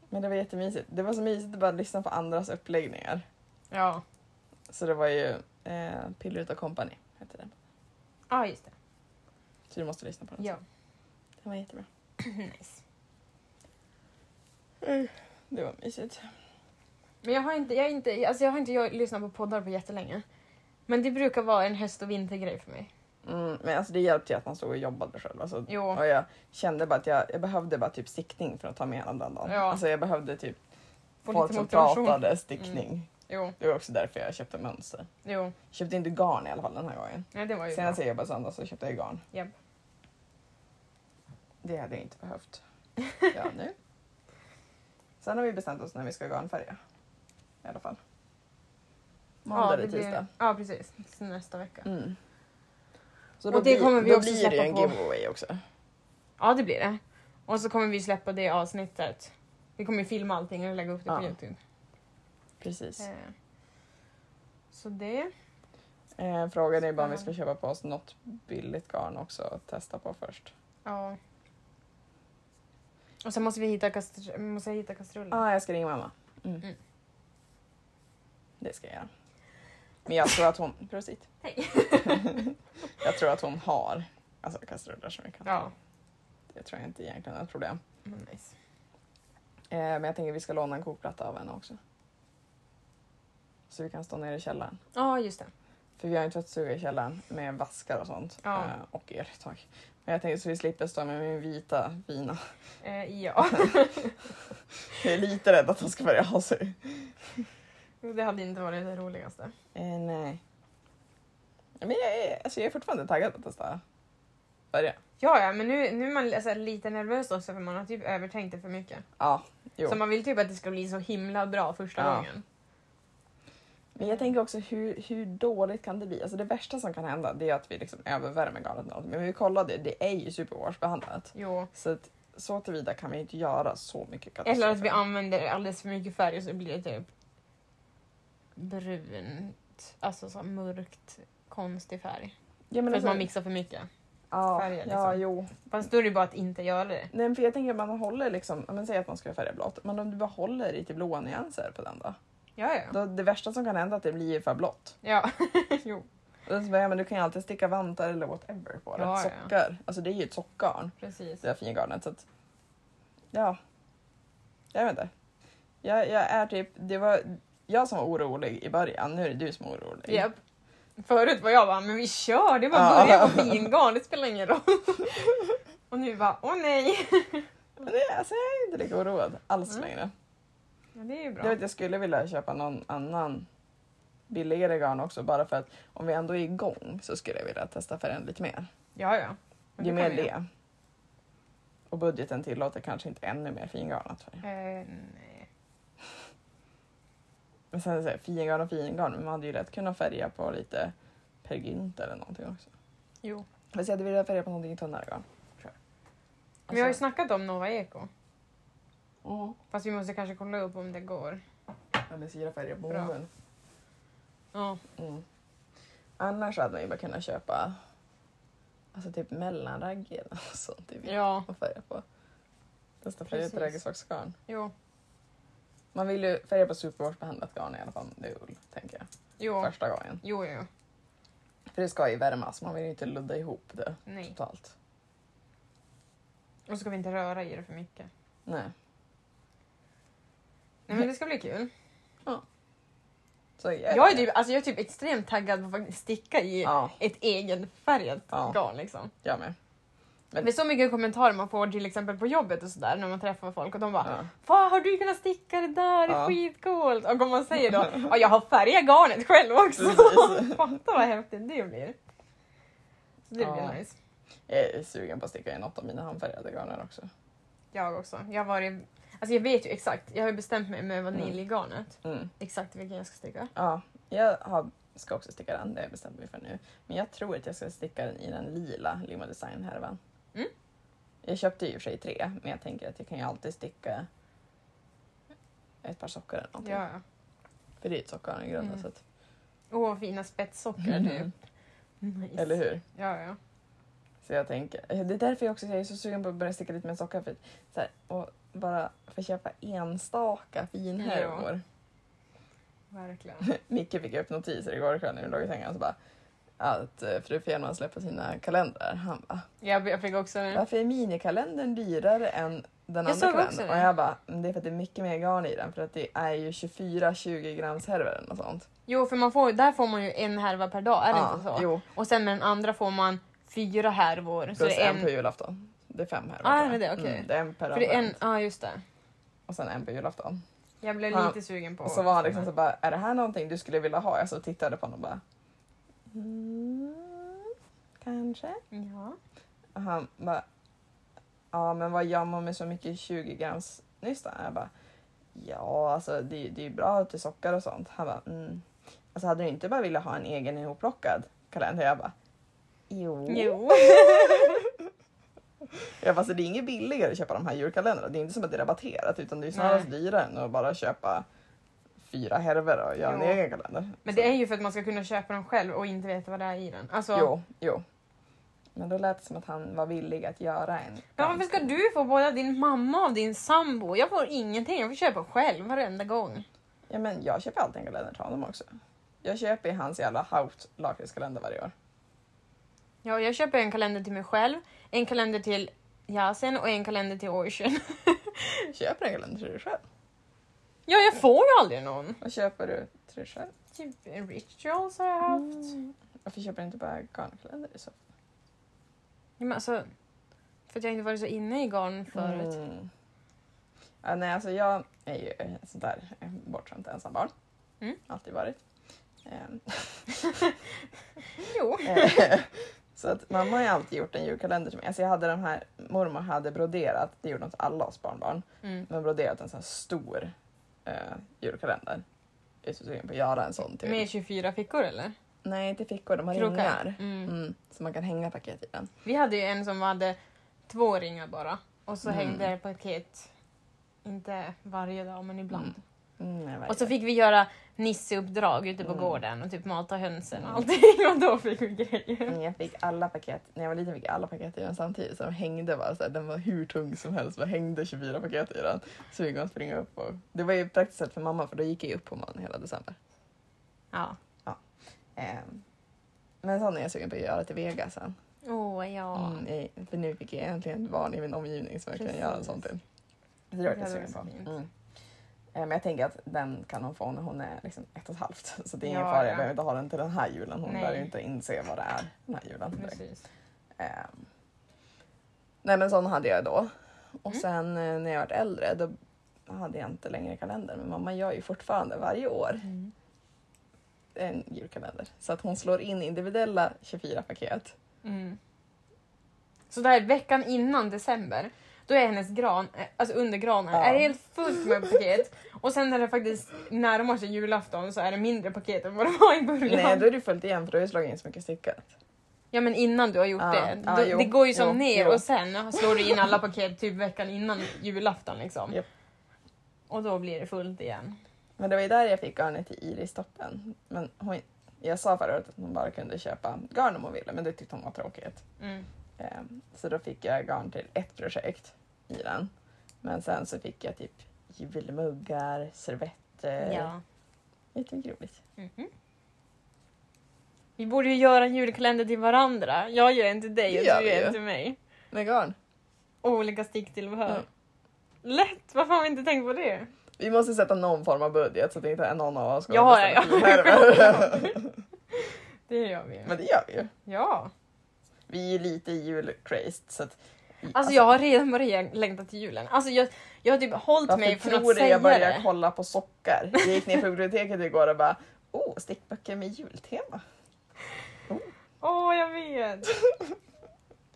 Speaker 1: Men det var jättemysigt. Det var så mysigt att bara lyssna på andras uppläggningar.
Speaker 2: Ja.
Speaker 1: Så det var ju eh, Pillrut och Company hette den.
Speaker 2: Ja, ah, just det. [clears throat]
Speaker 1: Så du måste lyssna på den.
Speaker 2: Ja.
Speaker 1: Den var jättebra.
Speaker 2: nice.
Speaker 1: Det var mysigt.
Speaker 2: Men jag har inte, jag har inte, alltså jag har inte jag lyssnat på poddar på jättelänge. Men det brukar vara en höst och vintergrej för mig.
Speaker 1: Mm, men alltså det hjälpte ju att man stod och jobbade själv. Alltså,
Speaker 2: Jo.
Speaker 1: och jag kände bara att jag, jag behövde bara typ stickning för att ta mig igenom den dagen.
Speaker 2: Ja.
Speaker 1: Alltså jag behövde typ
Speaker 2: Får
Speaker 1: folk
Speaker 2: lite
Speaker 1: som
Speaker 2: motivation. Mm.
Speaker 1: pratade stickning.
Speaker 2: Jo,
Speaker 1: Det var också därför jag köpte mönster.
Speaker 2: jo.
Speaker 1: Köpte inte garn i alla fall den här gången.
Speaker 2: Nej, det var ju
Speaker 1: Senast
Speaker 2: bra.
Speaker 1: jag jobbade söndag så köpte jag garn.
Speaker 2: Japp.
Speaker 1: Det hade jag inte
Speaker 2: [laughs]
Speaker 1: behövt. Ja, nu. Sen har vi bestämt oss när vi ska garnfärga. I alla fall. Måndag eller
Speaker 2: det blir-
Speaker 1: tisdag.
Speaker 2: Ja, precis. Så Nästa vecka.
Speaker 1: Mm. Så
Speaker 2: Och
Speaker 1: då
Speaker 2: det kommer vi
Speaker 1: då
Speaker 2: också
Speaker 1: blir det ju en
Speaker 2: släppa på.
Speaker 1: giveaway också.
Speaker 2: Ja, det blir det. Och så kommer vi släppa det avsnittet. Vi kommer ju filma allting och lägga upp det på
Speaker 1: Ja.
Speaker 2: Youtube.
Speaker 1: Precis.
Speaker 2: Eh, Så det.
Speaker 1: Eh, frågan är bara om vi ska
Speaker 2: Spännande.
Speaker 1: köpa på oss något billigt garn också och testa på först.
Speaker 2: Ja. Och sen måste vi hitta, kastr- måste jag hitta kastrullen.
Speaker 1: Ja, ah, jag ska ringa mamma. Mm.
Speaker 2: Mm.
Speaker 1: Det ska jag göra. Men jag tror att hon... [laughs] Prosit.
Speaker 2: [laughs] Hej.
Speaker 1: [laughs] jag tror att hon har alltså, kastruller som vi kan ta.
Speaker 2: Ja.
Speaker 1: Det tror jag inte egentligen är ett problem.
Speaker 2: Men nice.
Speaker 1: Eh, men jag tänker att vi ska låna en kokplatta av henne också. Så vi kan stå nere i källaren.
Speaker 2: Ja, just det.
Speaker 1: För vi har en tvättstuga i källaren med vaskar och sånt.
Speaker 2: Ja.
Speaker 1: Eh, och er ett tag. Men jag tänker så vi slipper stå med min vita fina.
Speaker 2: Eh, ja.
Speaker 1: [laughs]
Speaker 2: [laughs]
Speaker 1: Jag är lite rädd att hon ska börja ha sig.
Speaker 2: Det hade inte varit det roligaste.
Speaker 1: Eh, nej. Men jag är, alltså jag är fortfarande taggad på att testa färger.
Speaker 2: Ja, ja, men nu, nu är man alltså, lite nervös också för man har typ övertänkt det för mycket.
Speaker 1: Ja, jo.
Speaker 2: Så man vill typ att det ska bli så himla bra första
Speaker 1: Ja.
Speaker 2: gången.
Speaker 1: Men jag tänker också hur, hur dåligt kan det bli? Alltså det värsta som kan hända det är att vi liksom övervärmer garnet. eller något. Men vi kollade, det är ju superwashbehandlat.
Speaker 2: Jo.
Speaker 1: Så att, så tillvida kan vi inte göra så mycket
Speaker 2: Eller att vi
Speaker 1: katastrofer.
Speaker 2: använder alldeles för mycket färg och så blir det typ brunt, alltså så mörkt, konstig färg.
Speaker 1: ja, men
Speaker 2: För att
Speaker 1: alltså-
Speaker 2: man mixar för mycket.
Speaker 1: ja,
Speaker 2: färger,
Speaker 1: Ja,
Speaker 2: liksom.
Speaker 1: jo.
Speaker 2: Fast då är det ju bara att inte göra det.
Speaker 1: Nej, men för jag tänker att man håller liksom, ja, men säg att man ska färga blått, men om du bara håller i till blåa nyanser på den då?
Speaker 2: Ja, ja.
Speaker 1: då det värsta som kan hända är att det blir för blått.
Speaker 2: Ja, [laughs] jo,
Speaker 1: Och så bara, ja, men du kan ju alltid sticka vantar eller whatever på det.
Speaker 2: Ja, ja.
Speaker 1: Sockar. Alltså det är ju ett sockgarn,
Speaker 2: precis.
Speaker 1: det här fina garnet. Så att, ja. Jag vet inte. Jag, jag är typ, det var jag som var orolig i början, nu är det du som är orolig.
Speaker 2: Japp. Förut var jag bara, men vi kör, det var bara
Speaker 1: Ja.
Speaker 2: att börja på vingarn, det spelar ingen roll. [laughs] och nu bara, åh nej.
Speaker 1: Men det, alltså, jag är inte lika oroad alls
Speaker 2: Mm.
Speaker 1: längre.
Speaker 2: Ja, det är ju bra.
Speaker 1: Jag, vet, jag skulle vilja köpa någon annan billigare garn också bara för att om vi ändå är igång så skulle jag vilja testa färgen lite mer.
Speaker 2: Ja, ja. Men
Speaker 1: Ju
Speaker 2: det
Speaker 1: mer
Speaker 2: kan vi
Speaker 1: det. Och budgeten tillåter kanske inte ännu mer fingarnat färg.
Speaker 2: göra. Eh, nej.
Speaker 1: Men sen så här, fingarn och fingarn, men man hade ju lätt kunnat färga på lite Per Gynt eller någonting också.
Speaker 2: Jo.
Speaker 1: Fast Alltså, jag hade velat färga på någonting tunnare garn. tror jag.
Speaker 2: Men jag har ju
Speaker 1: Alltså,
Speaker 2: snackat om Nova Eko.
Speaker 1: mm.
Speaker 2: Fast vi måste kanske kolla upp om det går.
Speaker 1: Eller syra färger på
Speaker 2: Bra.
Speaker 1: boven.
Speaker 2: Ja.
Speaker 1: Mm. Annars hade man ju bara kunnat köpa alltså typ mellanragg eller något sånt i vitt
Speaker 2: Ja.
Speaker 1: och färga på. Testa färga på
Speaker 2: Precis.
Speaker 1: raggsocksgarn.
Speaker 2: Jo.
Speaker 1: Man vill ju färga på supervårdsbehandlat garn i alla fall med ull, tänker jag.
Speaker 2: Jo.
Speaker 1: Första gången.
Speaker 2: Jo, jo.
Speaker 1: För det ska ju värmas, man vill ju inte ludda ihop det
Speaker 2: Nej.
Speaker 1: totalt.
Speaker 2: Och så ska vi inte röra i det för mycket.
Speaker 1: Nej.
Speaker 2: Nej men det ska bli kul.
Speaker 1: Så
Speaker 2: Jag är typ, alltså, jag är typ extremt taggad på att faktiskt sticka i
Speaker 1: Ja,
Speaker 2: ett egenfärgat
Speaker 1: Ja.
Speaker 2: garn liksom.
Speaker 1: jag med. Men-
Speaker 2: Det är så mycket kommentarer man får till exempel på jobbet och sådär när man träffar folk och de bara
Speaker 1: Ja.
Speaker 2: Fan har du kunnat sticka det där, det är
Speaker 1: Ja.
Speaker 2: skitcoolt! Och om man säger då ja jag har färgat garnet själv också!
Speaker 1: [laughs] Precis.
Speaker 2: [laughs] Fatta vad häftigt det blir! Så det
Speaker 1: Ja.
Speaker 2: blir nice.
Speaker 1: Jag är sugen på att sticka i något av mina handfärgade garner också.
Speaker 2: Jag också. Jag har varit, alltså jag vet ju exakt, jag har ju bestämt mig med vaniljgarnet
Speaker 1: Mm.
Speaker 2: exakt vilken jag ska sticka.
Speaker 1: Ja, jag har, ska också sticka den, det har jag bestämt mig för nu. Men jag tror att jag ska sticka den i den lila Lima Design-härvan.
Speaker 2: Mm.
Speaker 1: Jag köpte ju i och för sig tre, men jag tänker att jag kan ju alltid sticka ett par sockor eller någonting.
Speaker 2: Ja, ja.
Speaker 1: För det är ju ett sockgarn i grunden.
Speaker 2: Mm.
Speaker 1: Så att,
Speaker 2: Åh vad fina spetssockor
Speaker 1: Mm.
Speaker 2: typ. Nice.
Speaker 1: eller hur?
Speaker 2: Ja, ja.
Speaker 1: Så jag tänker, det är därför jag också jag är så sugen på att börja sticka lite med sockar. För, att så här, och bara få köpa enstaka finhärvor. [laughs]
Speaker 2: Verkligen.
Speaker 1: Micke fick upp notiser igår kväll när vi låg i sängen så bara att eh, fru Fjällman släpper sina kalendrar. Han bara,
Speaker 2: Jag, jag fick också en.
Speaker 1: varför är minikalendern dyrare än den
Speaker 2: Mm. Jag
Speaker 1: andra
Speaker 2: såg också
Speaker 1: kalendern
Speaker 2: det.
Speaker 1: och jag bara, "Men det är för att det är mycket mer garn i den för att det är ju 24-20 grams härvor eller något sånt.
Speaker 2: Jo, för man får, där får man ju en härva per dag, är det
Speaker 1: Ja,
Speaker 2: inte så?
Speaker 1: Jo,
Speaker 2: Och sen med den andra får man fyra härvor. Så
Speaker 1: plus
Speaker 2: det är
Speaker 1: en på
Speaker 2: en,
Speaker 1: julafton. Det är fem härvor.
Speaker 2: Ah,
Speaker 1: tror jag.
Speaker 2: är det det? Okej.
Speaker 1: Mm, det är en per
Speaker 2: för det är en,
Speaker 1: advent
Speaker 2: Ja, just det.
Speaker 1: och sen en på julafton.
Speaker 2: Jag blev
Speaker 1: Ja.
Speaker 2: lite sugen på
Speaker 1: Och så var han liksom så bara, är det här någonting du skulle vilja ha? Jag så tittade på honom och bara, mm, kanske.
Speaker 2: Ja.
Speaker 1: Och han bara, ja men vad gör man med så mycket 20 grams nystan? Jag bara, ja alltså det, det är ju bra till sockar och sånt. Han bara, mm. Alltså hade du inte bara velat ha en egen ihopplockad kalender? Jag bara, jo.
Speaker 2: Jo.
Speaker 1: Jag bara, så det är inget billigare att köpa de här julkalendrarna. Det är inte som att det är rabatterat utan det är ju snarast dyrare än att bara köpa fyra härvor och göra en
Speaker 2: Jo.
Speaker 1: egen kalender.
Speaker 2: Men
Speaker 1: Så-
Speaker 2: det är ju för att man ska kunna köpa dem själv och inte veta vad det är i den. Alltså,
Speaker 1: Jo, jo. Men då lät det som att han var villig att göra en.
Speaker 2: Men varför ska du få både din mamma och din sambo? Jag får ingenting, jag får köpa själv varenda gång.
Speaker 1: Ja, men jag köper alltid en kalender till honom också. Jag köper ju hans jävla Haut lakritskalender varje år.
Speaker 2: Ja, jag köper en kalender till mig själv, en kalender till Yasin och en kalender till Ocean.
Speaker 1: Köper en kalender till dig själv?
Speaker 2: [laughs] ja, jag får ju aldrig någon.
Speaker 1: Vad köper du till dig själv?
Speaker 2: Typ rituals har jag haft.
Speaker 1: Mm. Varför köper du inte bara garnkalender i så fall?
Speaker 2: Ja, men alltså, för att jag inte varit så inne i garn förut.
Speaker 1: Mm. Ja, nej, alltså jag är ju ett sånt där eh, bortskämt ensambarn.
Speaker 2: Mm.
Speaker 1: Alltid varit. Ehm,
Speaker 2: [laughs] Jo.
Speaker 1: Eh, [laughs] Så att mamma har ju alltid gjort en julkalender till mig. Alltså jag hade den här, mormor hade broderat, det gjorde hon till alla oss barnbarn,
Speaker 2: Mm.
Speaker 1: men broderat en sån här stor eh, julkalender. Jag är så sugen på att göra en sån till.
Speaker 2: Med 24 fickor eller?
Speaker 1: Nej, inte fickor, de har
Speaker 2: Krokar.
Speaker 1: ringar.
Speaker 2: Mm.
Speaker 1: Mm, så man kan hänga paket i den.
Speaker 2: Vi hade ju en som hade två ringar bara och så
Speaker 1: Mm.
Speaker 2: hängde det paket. Inte varje dag men ibland.
Speaker 1: Mm. Mm, jag vet.
Speaker 2: Och så fick vi göra nisseuppdrag ute på
Speaker 1: Mm.
Speaker 2: gården och typ mata hönsen och
Speaker 1: Mm.
Speaker 2: allting [laughs] och då fick vi grejer.
Speaker 1: Mm, jag fick alla paket, när jag var liten fick jag alla paket i den samtidigt så de hängde bara så här, den var hur tung som helst, bara hängde 24 paket i den. Så vi kunde springa upp och det var ju praktiskt sett för mamma för då gick jag ju upp på morgonen hela december.
Speaker 2: Ja.
Speaker 1: Ehm, men sån är jag sugen på att göra till Vegas sen.
Speaker 2: Åh ja.
Speaker 1: Mm, nej, för nu fick jag äntligen ett barn i min omgivning som jag kan
Speaker 2: Precis.
Speaker 1: göra en sån till. Så det var jag lite
Speaker 2: Det hade
Speaker 1: sugen på.
Speaker 2: varit så fint.
Speaker 1: Mm. Eh, Men jag tänker att den kan hon få när hon är liksom ett och ett halvt. [laughs] Så det är ingen
Speaker 2: Ja,
Speaker 1: fara,
Speaker 2: ja.
Speaker 1: jag behöver inte ha den till den här julen. Hon
Speaker 2: Nej.
Speaker 1: lär ju inte inse vad det är den här julen. direkt.
Speaker 2: Precis.
Speaker 1: Ehm, nej men sån hade jag då. Och
Speaker 2: Mm.
Speaker 1: sen eh, när jag var äldre då hade jag inte längre kalender. Men mamma gör ju fortfarande varje år
Speaker 2: Mm.
Speaker 1: en julkalender. Så att hon slår in individuella 24 paket.
Speaker 2: Mm. Så där veckan innan december, då är hennes gran, eh, alltså under granen,
Speaker 1: Ja.
Speaker 2: är det helt fullt med paket. Och sen när det faktiskt närmar sig julafton så är det mindre paket än vad det var i början.
Speaker 1: Nej, då är du följt igen för du har ju slagit in så mycket stickat.
Speaker 2: Ja men innan du har gjort
Speaker 1: Ja,
Speaker 2: det.
Speaker 1: ja,
Speaker 2: då,
Speaker 1: jo,
Speaker 2: det går ju som
Speaker 1: jo,
Speaker 2: ner
Speaker 1: jo.
Speaker 2: och sen slår du in alla paket typ veckan innan julafton liksom.
Speaker 1: Japp.
Speaker 2: Och då blir det fullt igen.
Speaker 1: Men det var ju där jag fick garnet till Iris-toppen. Men hon, jag sa förra året att hon bara kunde köpa garn om hon ville, men det tyckte hon var tråkigt.
Speaker 2: Mm.
Speaker 1: Ehm, Så då fick jag garn till ett projekt i den. Men sen så fick jag typ julmuggar, servetter.
Speaker 2: Ja.
Speaker 1: Jättemycket roligt.
Speaker 2: Mhm. Vi borde ju göra en julkalender till varandra. Jag gör en till dig
Speaker 1: Det
Speaker 2: och
Speaker 1: gör
Speaker 2: du
Speaker 1: vi
Speaker 2: gör en
Speaker 1: ju.
Speaker 2: till mig.
Speaker 1: Med garn.
Speaker 2: Och olika sticktillbehör.
Speaker 1: Mm.
Speaker 2: Lätt! Varför har vi inte tänkt på det?
Speaker 1: Vi måste sätta någon form av budget så att inte någon av oss går
Speaker 2: Ja,
Speaker 1: och
Speaker 2: ja,
Speaker 1: beställer
Speaker 2: ja.
Speaker 1: julhärvor.
Speaker 2: Det gör vi ju.
Speaker 1: [laughs] Men det gör vi ju.
Speaker 2: Ja.
Speaker 1: Vi är ju lite julcrazed så att...
Speaker 2: Alltså jag har redan börjat längta till julen. Alltså jag, jag har typ hållit mig
Speaker 1: Varför
Speaker 2: från att
Speaker 1: tror du
Speaker 2: säga
Speaker 1: jag
Speaker 2: det.
Speaker 1: började kolla på sockar? Jag gick ner på biblioteket igår och bara oh, stickböcker med jultema.
Speaker 2: Åh, jag vet!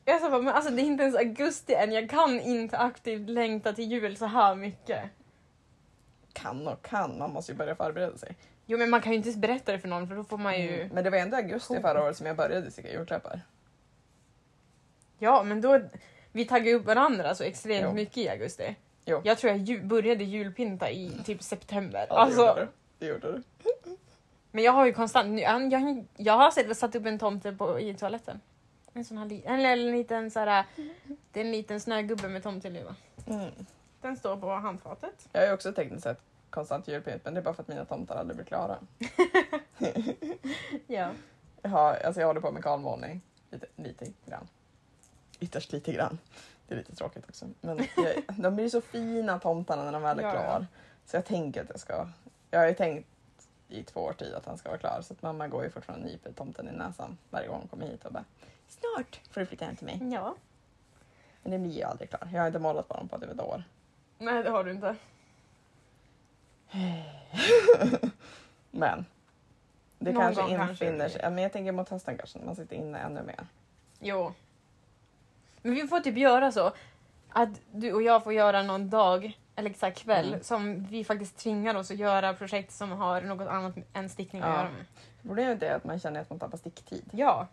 Speaker 2: Jag sa bara, men alltså det är inte ens augusti än, jag kan inte aktivt längta till jul så här mycket.
Speaker 1: Kan och kan, man måste ju börja förbereda sig.
Speaker 2: Jo men man kan ju inte ens berätta det för någon för då får man ju...
Speaker 1: Mm, Men det var ändå augusti förra året som jag började sticka julklappar.
Speaker 2: Ja men då, vi taggar ju upp varandra så extremt
Speaker 1: Jo.
Speaker 2: mycket i augusti.
Speaker 1: Jo.
Speaker 2: Jag tror jag ju, började julpynta i typ september.
Speaker 1: Ja, det gjorde
Speaker 2: alltså,
Speaker 1: du. Det gjorde du.
Speaker 2: men jag har ju konstant, nu- jag, jag, jag har sett, satt upp en tomte på, i toaletten. En sån här li, en, en liten så här, det är en liten snögubbe med tomteluva.
Speaker 1: Mm.
Speaker 2: Den står på handfatet.
Speaker 1: Jag har ju också tekniskt sett konstant julpynt men det är bara för att mina tomtar aldrig blir
Speaker 2: [laughs]
Speaker 1: klara.
Speaker 2: Ja.
Speaker 1: Jag, har, alltså jag håller på med kalmålning. Lite, lite grann. Ytterst lite grann. Det är lite tråkigt också. Men jag, [laughs] de blir ju så fina tomtarna när de väl är
Speaker 2: Ja, ja.
Speaker 1: klar. Så jag tänker att jag ska... Jag har ju tänkt i två år tid att han ska vara klar så att mamma går ju fortfarande och nyper tomten i näsan varje gång hon kommer hit och bara Snart får du flytta hem till mig.
Speaker 2: Ja.
Speaker 1: Men den blir ju aldrig klar. Jag har inte målat på honom på typ ett år.
Speaker 2: Nej, det har du inte.
Speaker 1: Men det
Speaker 2: Någon
Speaker 1: kanske
Speaker 2: gång
Speaker 1: infinner
Speaker 2: kanske det
Speaker 1: sig. Ja, Men jag tänker mot hösten kanske när man sitter inne ännu mer.
Speaker 2: Jo. Men vi får typ göra så att du och jag får göra någon dag eller så här kväll
Speaker 1: Mm.
Speaker 2: som vi faktiskt tvingar oss att göra projekt som har något annat än stickning att
Speaker 1: Ja.
Speaker 2: göra med.
Speaker 1: Problemet är att man känner att man tappar sticktid.
Speaker 2: Ja,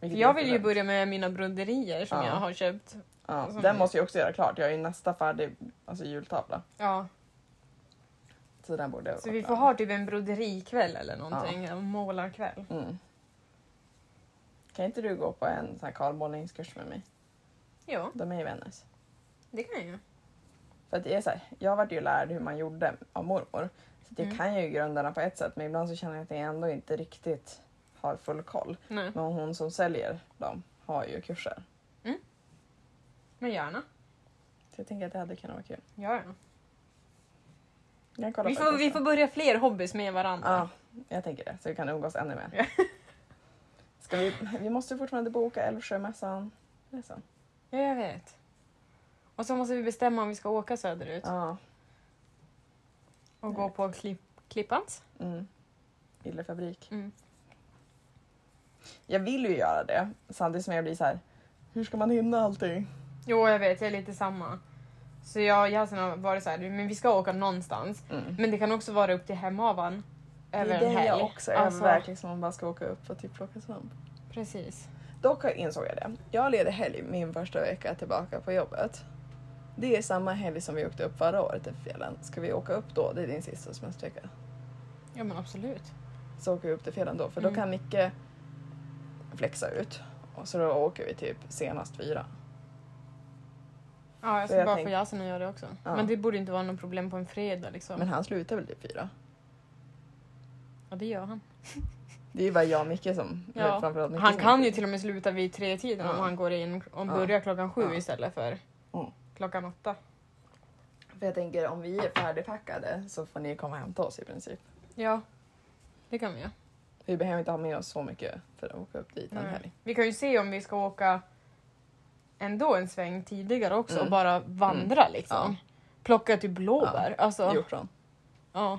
Speaker 2: för
Speaker 1: vilket är
Speaker 2: jag vill ju
Speaker 1: jättedumt.
Speaker 2: börja med mina broderier som
Speaker 1: Ja.
Speaker 2: jag har köpt.
Speaker 1: Ja,
Speaker 2: som-
Speaker 1: den måste jag också göra klart. Jag är ju nästa färdig alltså jultavla.
Speaker 2: Ja,
Speaker 1: Så den borde jag
Speaker 2: så
Speaker 1: vara
Speaker 2: vi får
Speaker 1: klar.
Speaker 2: ha typ en broderikväll eller någonting, en målarkväll.
Speaker 1: Mm. Kan inte du gå på en sån här karlmålningskurs med mig?
Speaker 2: Ja,
Speaker 1: De är ju Vännäs.
Speaker 2: det kan jag ju.
Speaker 1: För att det är så här, jag vart ju lärd hur man gjorde av mormor. Så att jag
Speaker 2: Mm.
Speaker 1: kan ju grunderna på ett sätt men ibland så känner jag att jag ändå inte riktigt har full koll.
Speaker 2: Nej.
Speaker 1: Men hon som säljer dem har ju kurser.
Speaker 2: Men gärna.
Speaker 1: Så jag tänker att det hade kunnat vara kul.
Speaker 2: Ja, ja.
Speaker 1: Jag kan kolla
Speaker 2: Vi,
Speaker 1: på
Speaker 2: får,
Speaker 1: kursen.
Speaker 2: vi får börja fler hobbys med varandra.
Speaker 1: Ja, jag tänker det. Så vi kan umgås ännu mer.
Speaker 2: [laughs]
Speaker 1: Ska vi, vi måste fortfarande boka Älvsjömässan. Mässan.
Speaker 2: Ja, jag vet. Och så måste vi bestämma om vi ska åka söderut
Speaker 1: Ja.
Speaker 2: och
Speaker 1: jag
Speaker 2: gå
Speaker 1: vet.
Speaker 2: på klipp, Klippans.
Speaker 1: Mm. Illefabrik.
Speaker 2: Mm.
Speaker 1: Jag vill ju göra det samtidigt som jag blir så här. Hur ska man hinna allting?
Speaker 2: Jo, jag vet, jag är lite samma. Så jag och Yasin har varit så här, men vi ska åka någonstans.
Speaker 1: Mm.
Speaker 2: Men det kan också vara upp till Hemavan.
Speaker 1: det
Speaker 2: Över
Speaker 1: är det
Speaker 2: en helg.
Speaker 1: jag också
Speaker 2: Alltså,
Speaker 1: övervägt. Liksom, man bara ska åka upp och typ plocka svamp.
Speaker 2: Precis.
Speaker 1: Dock insåg jag det. Jag leder helg min första vecka tillbaka på jobbet. Det är samma helg som vi åkte upp förra året till fjällen. Ska vi åka upp då? Det är din sista semestervecka.
Speaker 2: Ja, men absolut.
Speaker 1: så åker vi upp till fjällen då för
Speaker 2: Mm.
Speaker 1: då kan Micke flexa ut. Och så då åker vi typ senast fyra.
Speaker 2: Ja, jag
Speaker 1: Så
Speaker 2: ska
Speaker 1: jag
Speaker 2: bara
Speaker 1: tänk-
Speaker 2: få Yasin att göra det också.
Speaker 1: Ja.
Speaker 2: Men det borde inte vara något problem på en fredag liksom.
Speaker 1: Men han slutar väl typ fyra?
Speaker 2: Ja, det gör han.
Speaker 1: Det är ju bara jag och Micke som...
Speaker 2: Ja.
Speaker 1: eller framförallt Micke
Speaker 2: Han
Speaker 1: som
Speaker 2: kan
Speaker 1: åker.
Speaker 2: ju till och med sluta vid tre tiden om
Speaker 1: Ja.
Speaker 2: han går in och
Speaker 1: Ja.
Speaker 2: börjar klockan sju
Speaker 1: Ja.
Speaker 2: istället för
Speaker 1: Mm.
Speaker 2: klockan åtta.
Speaker 1: För jag tänker om vi är färdigpackade så får ni komma och hämta oss i princip.
Speaker 2: Ja, det kan vi göra.
Speaker 1: Vi behöver inte ha med oss så mycket för att åka upp dit en
Speaker 2: Nej.
Speaker 1: helg.
Speaker 2: Vi kan ju se om vi ska åka ändå en sväng tidigare också
Speaker 1: Mm.
Speaker 2: och bara vandra liksom. Plocka typ blåbär. Alltså,
Speaker 1: Hjortron.
Speaker 2: ja.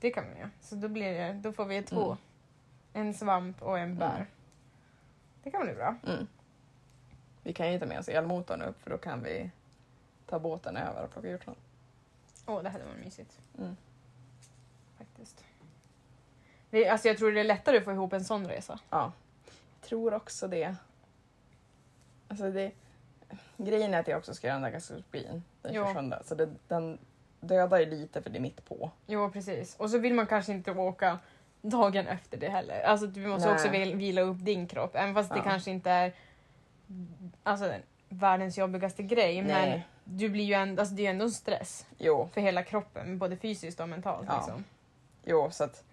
Speaker 2: Det kan vi göra. Så då, blir det, då får vi två.
Speaker 1: Mm.
Speaker 2: En svamp och en bär.
Speaker 1: Mm.
Speaker 2: Det kan bli bra.
Speaker 1: Mm. Vi kan ju ta med oss elmotorn upp för då kan vi ta båten över och plocka hjortron.
Speaker 2: Åh, det hade varit mysigt.
Speaker 1: Mm.
Speaker 2: Faktiskt. Det, alltså jag tror det är lättare att få ihop en sån resa.
Speaker 1: Ja. Jag tror också det. Alltså det. Grejen är att jag också ska göra den där gastroskopin den
Speaker 2: Ja.
Speaker 1: 27. Så det, den dödar ju lite för det är mitt på.
Speaker 2: Jo, precis. Och så vill man kanske inte åka dagen efter det heller. Alltså du måste
Speaker 1: Nej.
Speaker 2: också vil- vila upp din kropp. Även fast det
Speaker 1: Ja.
Speaker 2: kanske inte är alltså, den världens jobbigaste grej. Men
Speaker 1: Nej.
Speaker 2: du blir ju ändå, alltså, det är ju ändå en stress
Speaker 1: Jo,
Speaker 2: för hela kroppen. Både fysiskt och mentalt.
Speaker 1: Ja.
Speaker 2: Liksom.
Speaker 1: jo så att. [clears throat]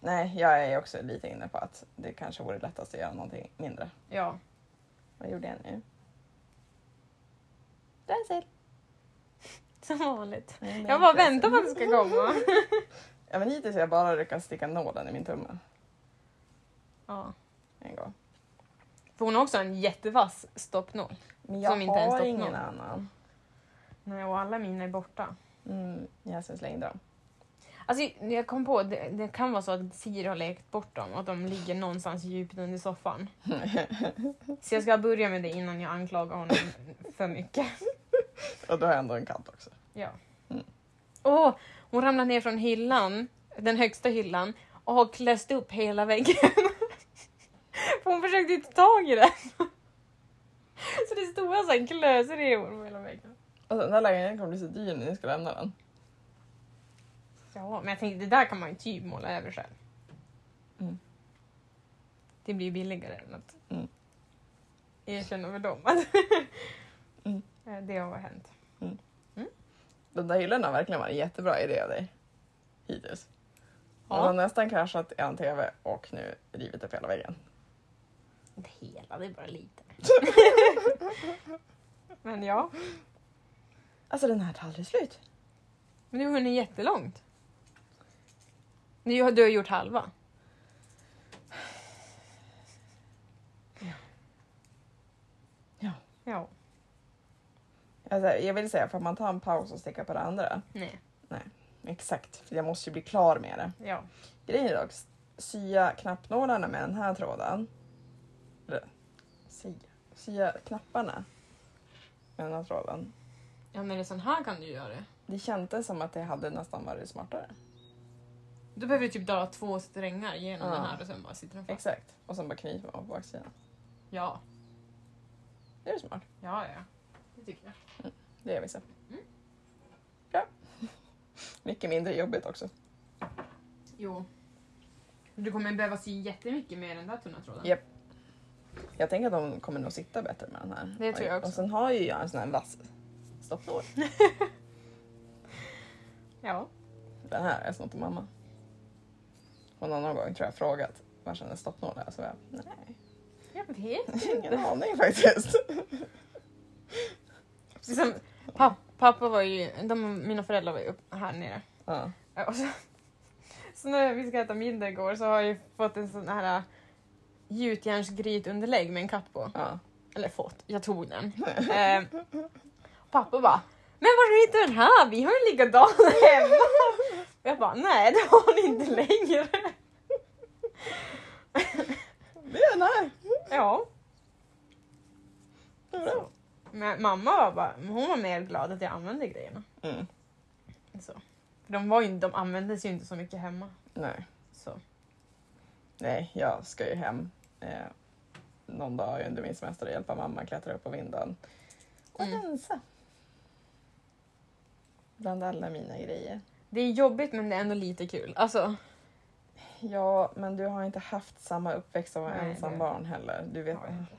Speaker 1: Nej, jag är också lite inne på att det kanske vore lättast att göra någonting mindre.
Speaker 2: ja.
Speaker 1: Vad gjorde jag nu? Denzel!
Speaker 2: Som vanligt.
Speaker 1: Nej, nej,
Speaker 2: Jag bara
Speaker 1: Denzel.
Speaker 2: väntar på att det ska komma.
Speaker 1: [laughs] Ja, men hittills har jag bara lyckats sticka nålen i min tumme
Speaker 2: ja.
Speaker 1: en gång.
Speaker 2: För hon har också en jättevass stoppnål.
Speaker 1: Men jag
Speaker 2: Som inte ens
Speaker 1: har
Speaker 2: doppnål.
Speaker 1: ingen annan.
Speaker 2: Nej, och alla mina är borta.
Speaker 1: Mm, jag slängde dem.
Speaker 2: Alltså, jag kom på det, det kan vara så att Siri har lekt bort dem och att de ligger någonstans djupt under soffan. Så jag ska börja med det innan jag anklagar honom för mycket.
Speaker 1: Och då har jag ändå en katt också.
Speaker 2: Ja.
Speaker 1: Mm.
Speaker 2: Åh, hon ramlade ner från hyllan, den högsta hyllan, och har kläst upp hela väggen. [laughs] för hon försökte ju ta tag i den. så det stod alltså en klösrevor på hela väggen.
Speaker 1: Alltså, den där lägenheten kommer bli så dyr när ni ska lämna den.
Speaker 2: Ja, men jag tänkte det där kan man ju typ måla över själv.
Speaker 1: Mm.
Speaker 2: Det blir ju billigare än att
Speaker 1: Mm.
Speaker 2: erkänna för dem [laughs] att
Speaker 1: Mm.
Speaker 2: eh, det har hänt.
Speaker 1: De där hyllorna har verkligen varit en jättebra idé av dig. Hittills. Ja. De har nästan kraschat en tv och nu rivit upp hela väggen. [laughs]
Speaker 2: Inte hela, det är bara lite.
Speaker 1: slut.
Speaker 2: Men ja.
Speaker 1: Alltså den här tar aldrig slut.
Speaker 2: Men du har hunnit jättelångt. Du har, du har gjort halva.
Speaker 1: Ja.
Speaker 2: Ja.
Speaker 1: Alltså, jag vill säga, får man ta en paus och sticka på det andra?
Speaker 2: Nej.
Speaker 1: Exakt, för jag måste ju bli klar med det.
Speaker 2: Ja.
Speaker 1: Grejen är dock, sya knappnålarna med den här tråden. Eller, sya, sya knapparna med den här tråden.
Speaker 2: Ja men det är sån här kan du göra det.
Speaker 1: Det kändes som att det hade nästan varit smartare.
Speaker 2: Då behöver du typ dra två strängar genom
Speaker 1: Ja.
Speaker 2: den här och sen bara sitter den fast.
Speaker 1: Exakt. Och sen bara knyter man på baksidan.
Speaker 2: Ja.
Speaker 1: Det är smart.
Speaker 2: Ja, ja. Det tycker jag.
Speaker 1: Det är vissa.
Speaker 2: Mm.
Speaker 1: Bra. [laughs] Mycket mindre jobbigt också.
Speaker 2: Jo. Du kommer behöva sy jättemycket med den där tunna tråden.
Speaker 1: Japp. Jag tänker att de kommer nog sitta bättre med den här.
Speaker 2: Det tror jag också.
Speaker 1: Och sen har ju jag en sån här vass stoppnål.
Speaker 2: Ja.
Speaker 1: Den här har jag snott till mamma. Och någon annan gång tror jag frågat var den där stoppnålen är. Så jag, nej,
Speaker 2: Jag vet.
Speaker 1: ingen aning faktiskt.
Speaker 2: Det är som, pappa, pappa var ju, de, mina föräldrar var ju upp här nere.
Speaker 1: Ja.
Speaker 2: Och så, så när vi ska äta middag igår så har jag ju fått en sån här äh, gjutjärnsgrytunderlägg med en katt på.
Speaker 1: Ja.
Speaker 2: Eller fått, jag tog [laughs] den. eh, pappa bara men var har du hittat den här? Vi har en likadan hemma. Och jag bara nej det har ni inte längre.
Speaker 1: [laughs] Det är den här.
Speaker 2: Ja.
Speaker 1: Det är bra.
Speaker 2: Men mamma var bara, hon var mer glad att jag använde grejerna.
Speaker 1: Mm.
Speaker 2: Så. För de, var ju, de användes ju inte så mycket hemma.
Speaker 1: Nej.
Speaker 2: Så.
Speaker 1: nej, jag ska ju hem eh, någon dag under min semester och hjälpa mamma klättra upp på vinden. Och
Speaker 2: Mm.
Speaker 1: rensa. Bland alla mina grejer.
Speaker 2: Det är jobbigt men det är ändå lite kul. Alltså,
Speaker 1: Ja, men du har inte haft samma uppväxt som
Speaker 2: Nej,
Speaker 1: ensam
Speaker 2: det-
Speaker 1: barn heller. Du vet,
Speaker 2: har jag inte.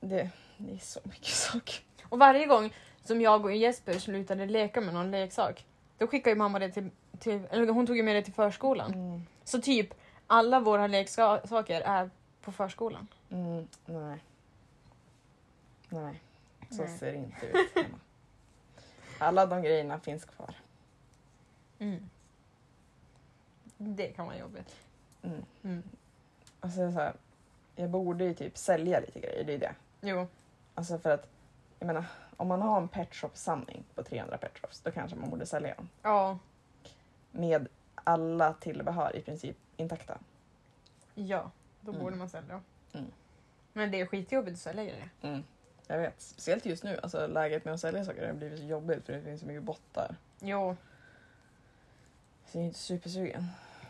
Speaker 1: det, det är så mycket [laughs] saker.
Speaker 2: och varje gång som jag och Jesper slutade leka med någon leksak, då skickade ju mamma det till, till eller hon tog ju med det till förskolan.
Speaker 1: Mm.
Speaker 2: Så typ alla våra leksaker är på förskolan.
Speaker 1: Mm, nej. Nej, så
Speaker 2: Nej.
Speaker 1: ser det
Speaker 2: [laughs]
Speaker 1: inte ut hemma. Alla de grejerna finns kvar.
Speaker 2: Det kan vara jobbigt.
Speaker 1: Mm.
Speaker 2: Mm.
Speaker 1: Alltså, så här, jag borde ju typ sälja lite grejer, det är det.
Speaker 2: Jo.
Speaker 1: Alltså för att, jag menar, om man har en pet shop samling på 300 pet shops, då kanske man borde sälja dem.
Speaker 2: Ja.
Speaker 1: Med alla tillbehör i princip intakta.
Speaker 2: Ja. Då
Speaker 1: Mm.
Speaker 2: borde man sälja.
Speaker 1: Mm.
Speaker 2: Men det är skitjobbigt att sälja grejer.
Speaker 1: Mm. Jag vet. Speciellt just nu, alltså läget med att sälja saker har blivit så jobbigt för det finns så mycket bottar.
Speaker 2: Jo.
Speaker 1: Så jag är inte supersugen.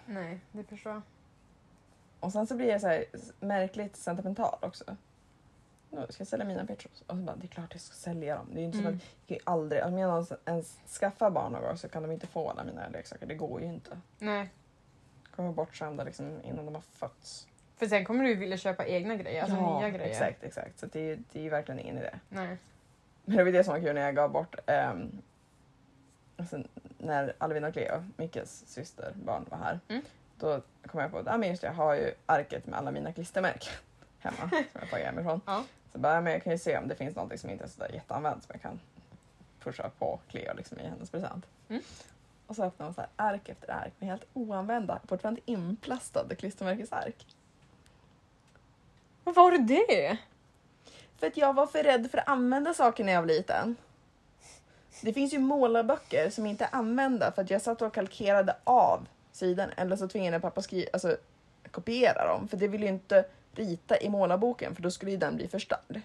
Speaker 2: Nej, det förstår jag.
Speaker 1: Och sen så blir jag så här märkligt sentimental också. Nu ska jag sälja mina pet shops. Och så bara, det är klart jag ska sälja dem. Det är ju inte som
Speaker 2: Mm.
Speaker 1: att jag kan ju aldrig, om jag någonsin ens skaffar barn någon gång så kan de inte få alla mina leksaker. Det går ju inte.
Speaker 2: Nej.
Speaker 1: Kommer bortskämda liksom innan de har fötts.
Speaker 2: För sen kommer du vilja köpa egna grejer, alltså
Speaker 1: Ja,
Speaker 2: nya grejer.
Speaker 1: Exakt, exakt. Så det, är- det är ju verkligen ingen idé.
Speaker 2: Nej.
Speaker 1: Men det var ju det som var kul när jag gav bort ehm, alltså, när Alvin och Cleo, Mickes syster, barn var här.
Speaker 2: Mm.
Speaker 1: Då kom jag på att ah, men just det, jag har ju arket med alla mina klistermärken [laughs] hemma som jag tagit hemifrån.
Speaker 2: Ja.
Speaker 1: Så bara, ah, men jag kan ju se om det finns någonting som inte är sådär jätteanvänt som jag kan pusha på Cleo liksom, i hennes present.
Speaker 2: Mm.
Speaker 1: Och så öppnade hon så här, ark efter ark med helt oanvända, fortfarande inplastade klistermärkesark.
Speaker 2: Varför har du det?
Speaker 1: För att jag var för rädd för att använda saker när jag var liten. Det finns ju målarböcker som inte är använda för att jag satt och kalkerade av sidan eller så tvingade pappa skriva, alltså kopiera dem för det ville ju inte rita i målarboken för då skulle ju den bli förstörd.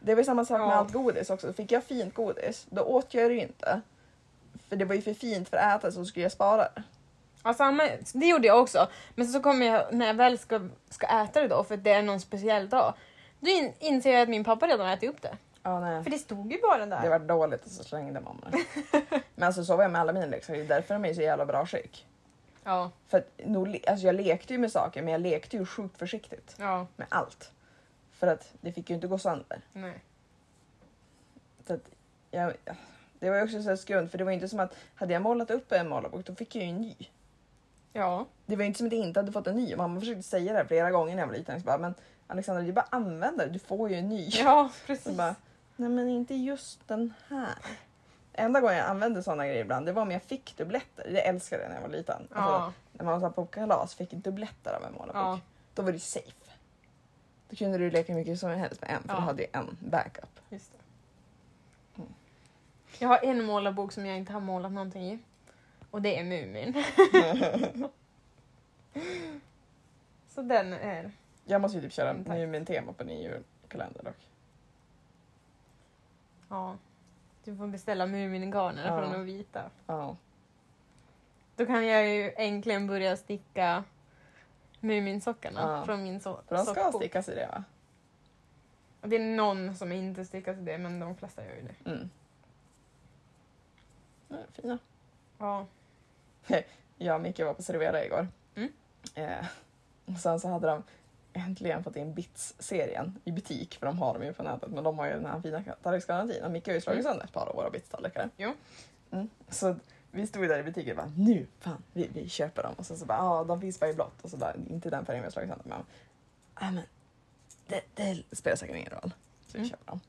Speaker 1: Det var ju samma sak med
Speaker 2: Ja.
Speaker 1: allt godis också. Fick jag fint godis, då åt jag det ju inte. För det var ju för fint för att äta så skulle jag spara det.
Speaker 2: Alltså, men- det gjorde jag också. Men så kommer jag, när jag väl ska, ska äta det då, för att det är någon speciell dag, då in, inser jag att min pappa redan har ätit upp det.
Speaker 1: Ja, nej.
Speaker 2: För det stod ju bara där.
Speaker 1: Det var dåligt och så slängde mamma [laughs] det. Men alltså så var jag med alla mina leksaker, det är därför de är i så jävla bra skick.
Speaker 2: Ja,
Speaker 1: För att, nog le- alltså jag lekte ju med saker men jag lekte ju sjukt försiktigt
Speaker 2: ja,
Speaker 1: med allt. För att det fick ju inte gå sönder.
Speaker 2: nej.
Speaker 1: Så att jag, det var ju också så här skumt för det var ju inte som att hade jag målat upp en målarbok då fick jag ju en ny.
Speaker 2: Ja.
Speaker 1: Det var ju inte som att jag inte hade fått en ny. Mamma försökte säga det här flera gånger när jag var liten. Jag bara, men Alexandra, det är bara att använda det. Du får ju en ny.
Speaker 2: Ja,
Speaker 1: Så
Speaker 2: precis.
Speaker 1: bara, Nej men inte just den här. Enda gången jag använde sådana grejer ibland det var om jag fick dubbletter. Jag älskade det när jag var liten. Alltså,
Speaker 2: ja.
Speaker 1: när man var så här på kalas fick dubbletter av en målarbok.
Speaker 2: Ja.
Speaker 1: Då var det safe. Då kunde du leka hur mycket som helst med en för
Speaker 2: Ja.
Speaker 1: du hade ju en backup.
Speaker 2: Just det. Jag har en målarbok som jag inte har målat någonting i. Och det är Mumin. [laughs] Så den är...
Speaker 1: Jag måste ju typ köra
Speaker 2: Mm, tack.
Speaker 1: Mumin-tema på min julkalender dock.
Speaker 2: Ja. Du får beställa Mumingarner
Speaker 1: Ja.
Speaker 2: från de vita.
Speaker 1: Ja.
Speaker 2: Då kan jag ju äntligen börja sticka Muminsockarna
Speaker 1: Ja.
Speaker 2: från min so-
Speaker 1: För de ska
Speaker 2: sockbok.
Speaker 1: stickas i det va?
Speaker 2: Det är någon som inte stickas i det, men de flesta gör ju det.
Speaker 1: Mm. Ja, Fina.
Speaker 2: Ja.
Speaker 1: jag och Micke var på Servera igår.
Speaker 2: Mm.
Speaker 1: Eh, och sen så hade de äntligen fått in Bits-serien i butik, för de har dem ju på nätet, men de har ju den här fina tallriksgarantin och Micke har ju slagit
Speaker 2: Mm.
Speaker 1: sönder ett par av våra Bits-tallrikar.
Speaker 2: Jo.
Speaker 1: Mm. Så vi stod där i butiken och bara nu, fan, vi, vi köper dem. Och sen så bara, ja, de finns bara i blått och så där, inte den färgen vi har slagit sönder. Men, ja, men det, det spelar säkert ingen roll. Så vi
Speaker 2: Mm.
Speaker 1: köper dem.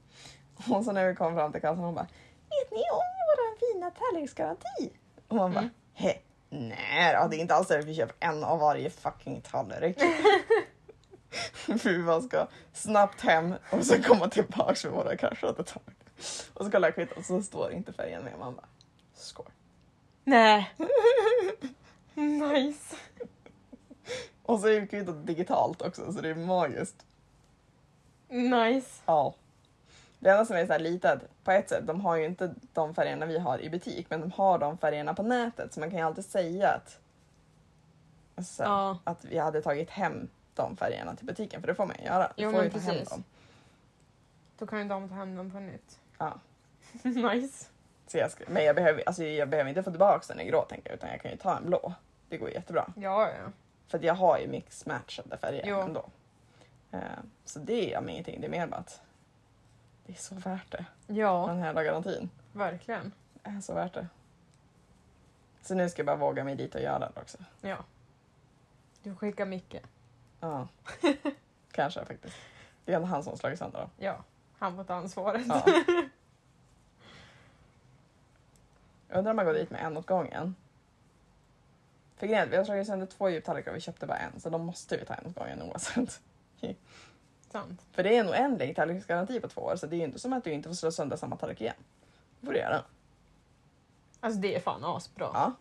Speaker 1: Och så när vi kom fram till kassan hon bara, vet ni om våran fina tallriksgaranti? Och man bara,
Speaker 2: Mm.
Speaker 1: heh. Nej då, det är inte alls därför vi köper en av varje fucking tallrik. För vi bara ska snabbt hem och så komma tillbaka med våra kraschade tallrikar. Och så kollar jag kvittot och så står inte färgen med. Man bara, skål. [laughs]
Speaker 2: Nej. [laughs] nice.
Speaker 1: Och så är ju kvittot digitalt också så det är magiskt.
Speaker 2: Nice.
Speaker 1: Ja. Det enda som är så här litet, på ett sätt, de har ju inte de färgerna vi har i butik men de har de färgerna på nätet så man kan ju alltid säga att, alltså, så här,
Speaker 2: Ja.
Speaker 1: att vi hade tagit hem de färgerna till butiken för det får man ju göra. Du
Speaker 2: Jo,
Speaker 1: får
Speaker 2: men
Speaker 1: ju ta hem
Speaker 2: precis.
Speaker 1: dem.
Speaker 2: Då kan ju de ta hem dem på nytt.
Speaker 1: Ja.
Speaker 2: [laughs] nice.
Speaker 1: Så jag ska, men jag behöver, alltså jag behöver inte få tillbaka den i grå tänker jag, utan jag kan ju ta en blå. Det går jättebra.
Speaker 2: Ja, ja.
Speaker 1: För att jag har ju mix-matchade färger
Speaker 2: Jo.
Speaker 1: ändå. Eh, så det är jag med ingenting, det är mer bara att det är så värt det.
Speaker 2: Ja,
Speaker 1: Den här garantin
Speaker 2: verkligen.
Speaker 1: är Äh, så värt det. Så nu ska jag bara våga mig dit och göra det också.
Speaker 2: Ja. Du skickar Micke.
Speaker 1: Ja. [laughs] Kanske faktiskt. Det är ändå han som har slagit [laughs] sönder dem.
Speaker 2: Ja, han får ta ansvaret.
Speaker 1: Ja. Jag undrar om man går dit med en åt gången. För grejen är att vi har slagit sönder två djuptallrikar och vi köpte bara en så då måste vi ta en åt gången oavsett.
Speaker 2: [laughs]
Speaker 1: [laughs]
Speaker 2: Sant.
Speaker 1: För det är en oändlig tallriksgaranti på två år så det är ju inte som att du inte får slå sönder samma tallrik igen. Det får du göra.
Speaker 2: Alltså det är fan asbra.
Speaker 1: Ja.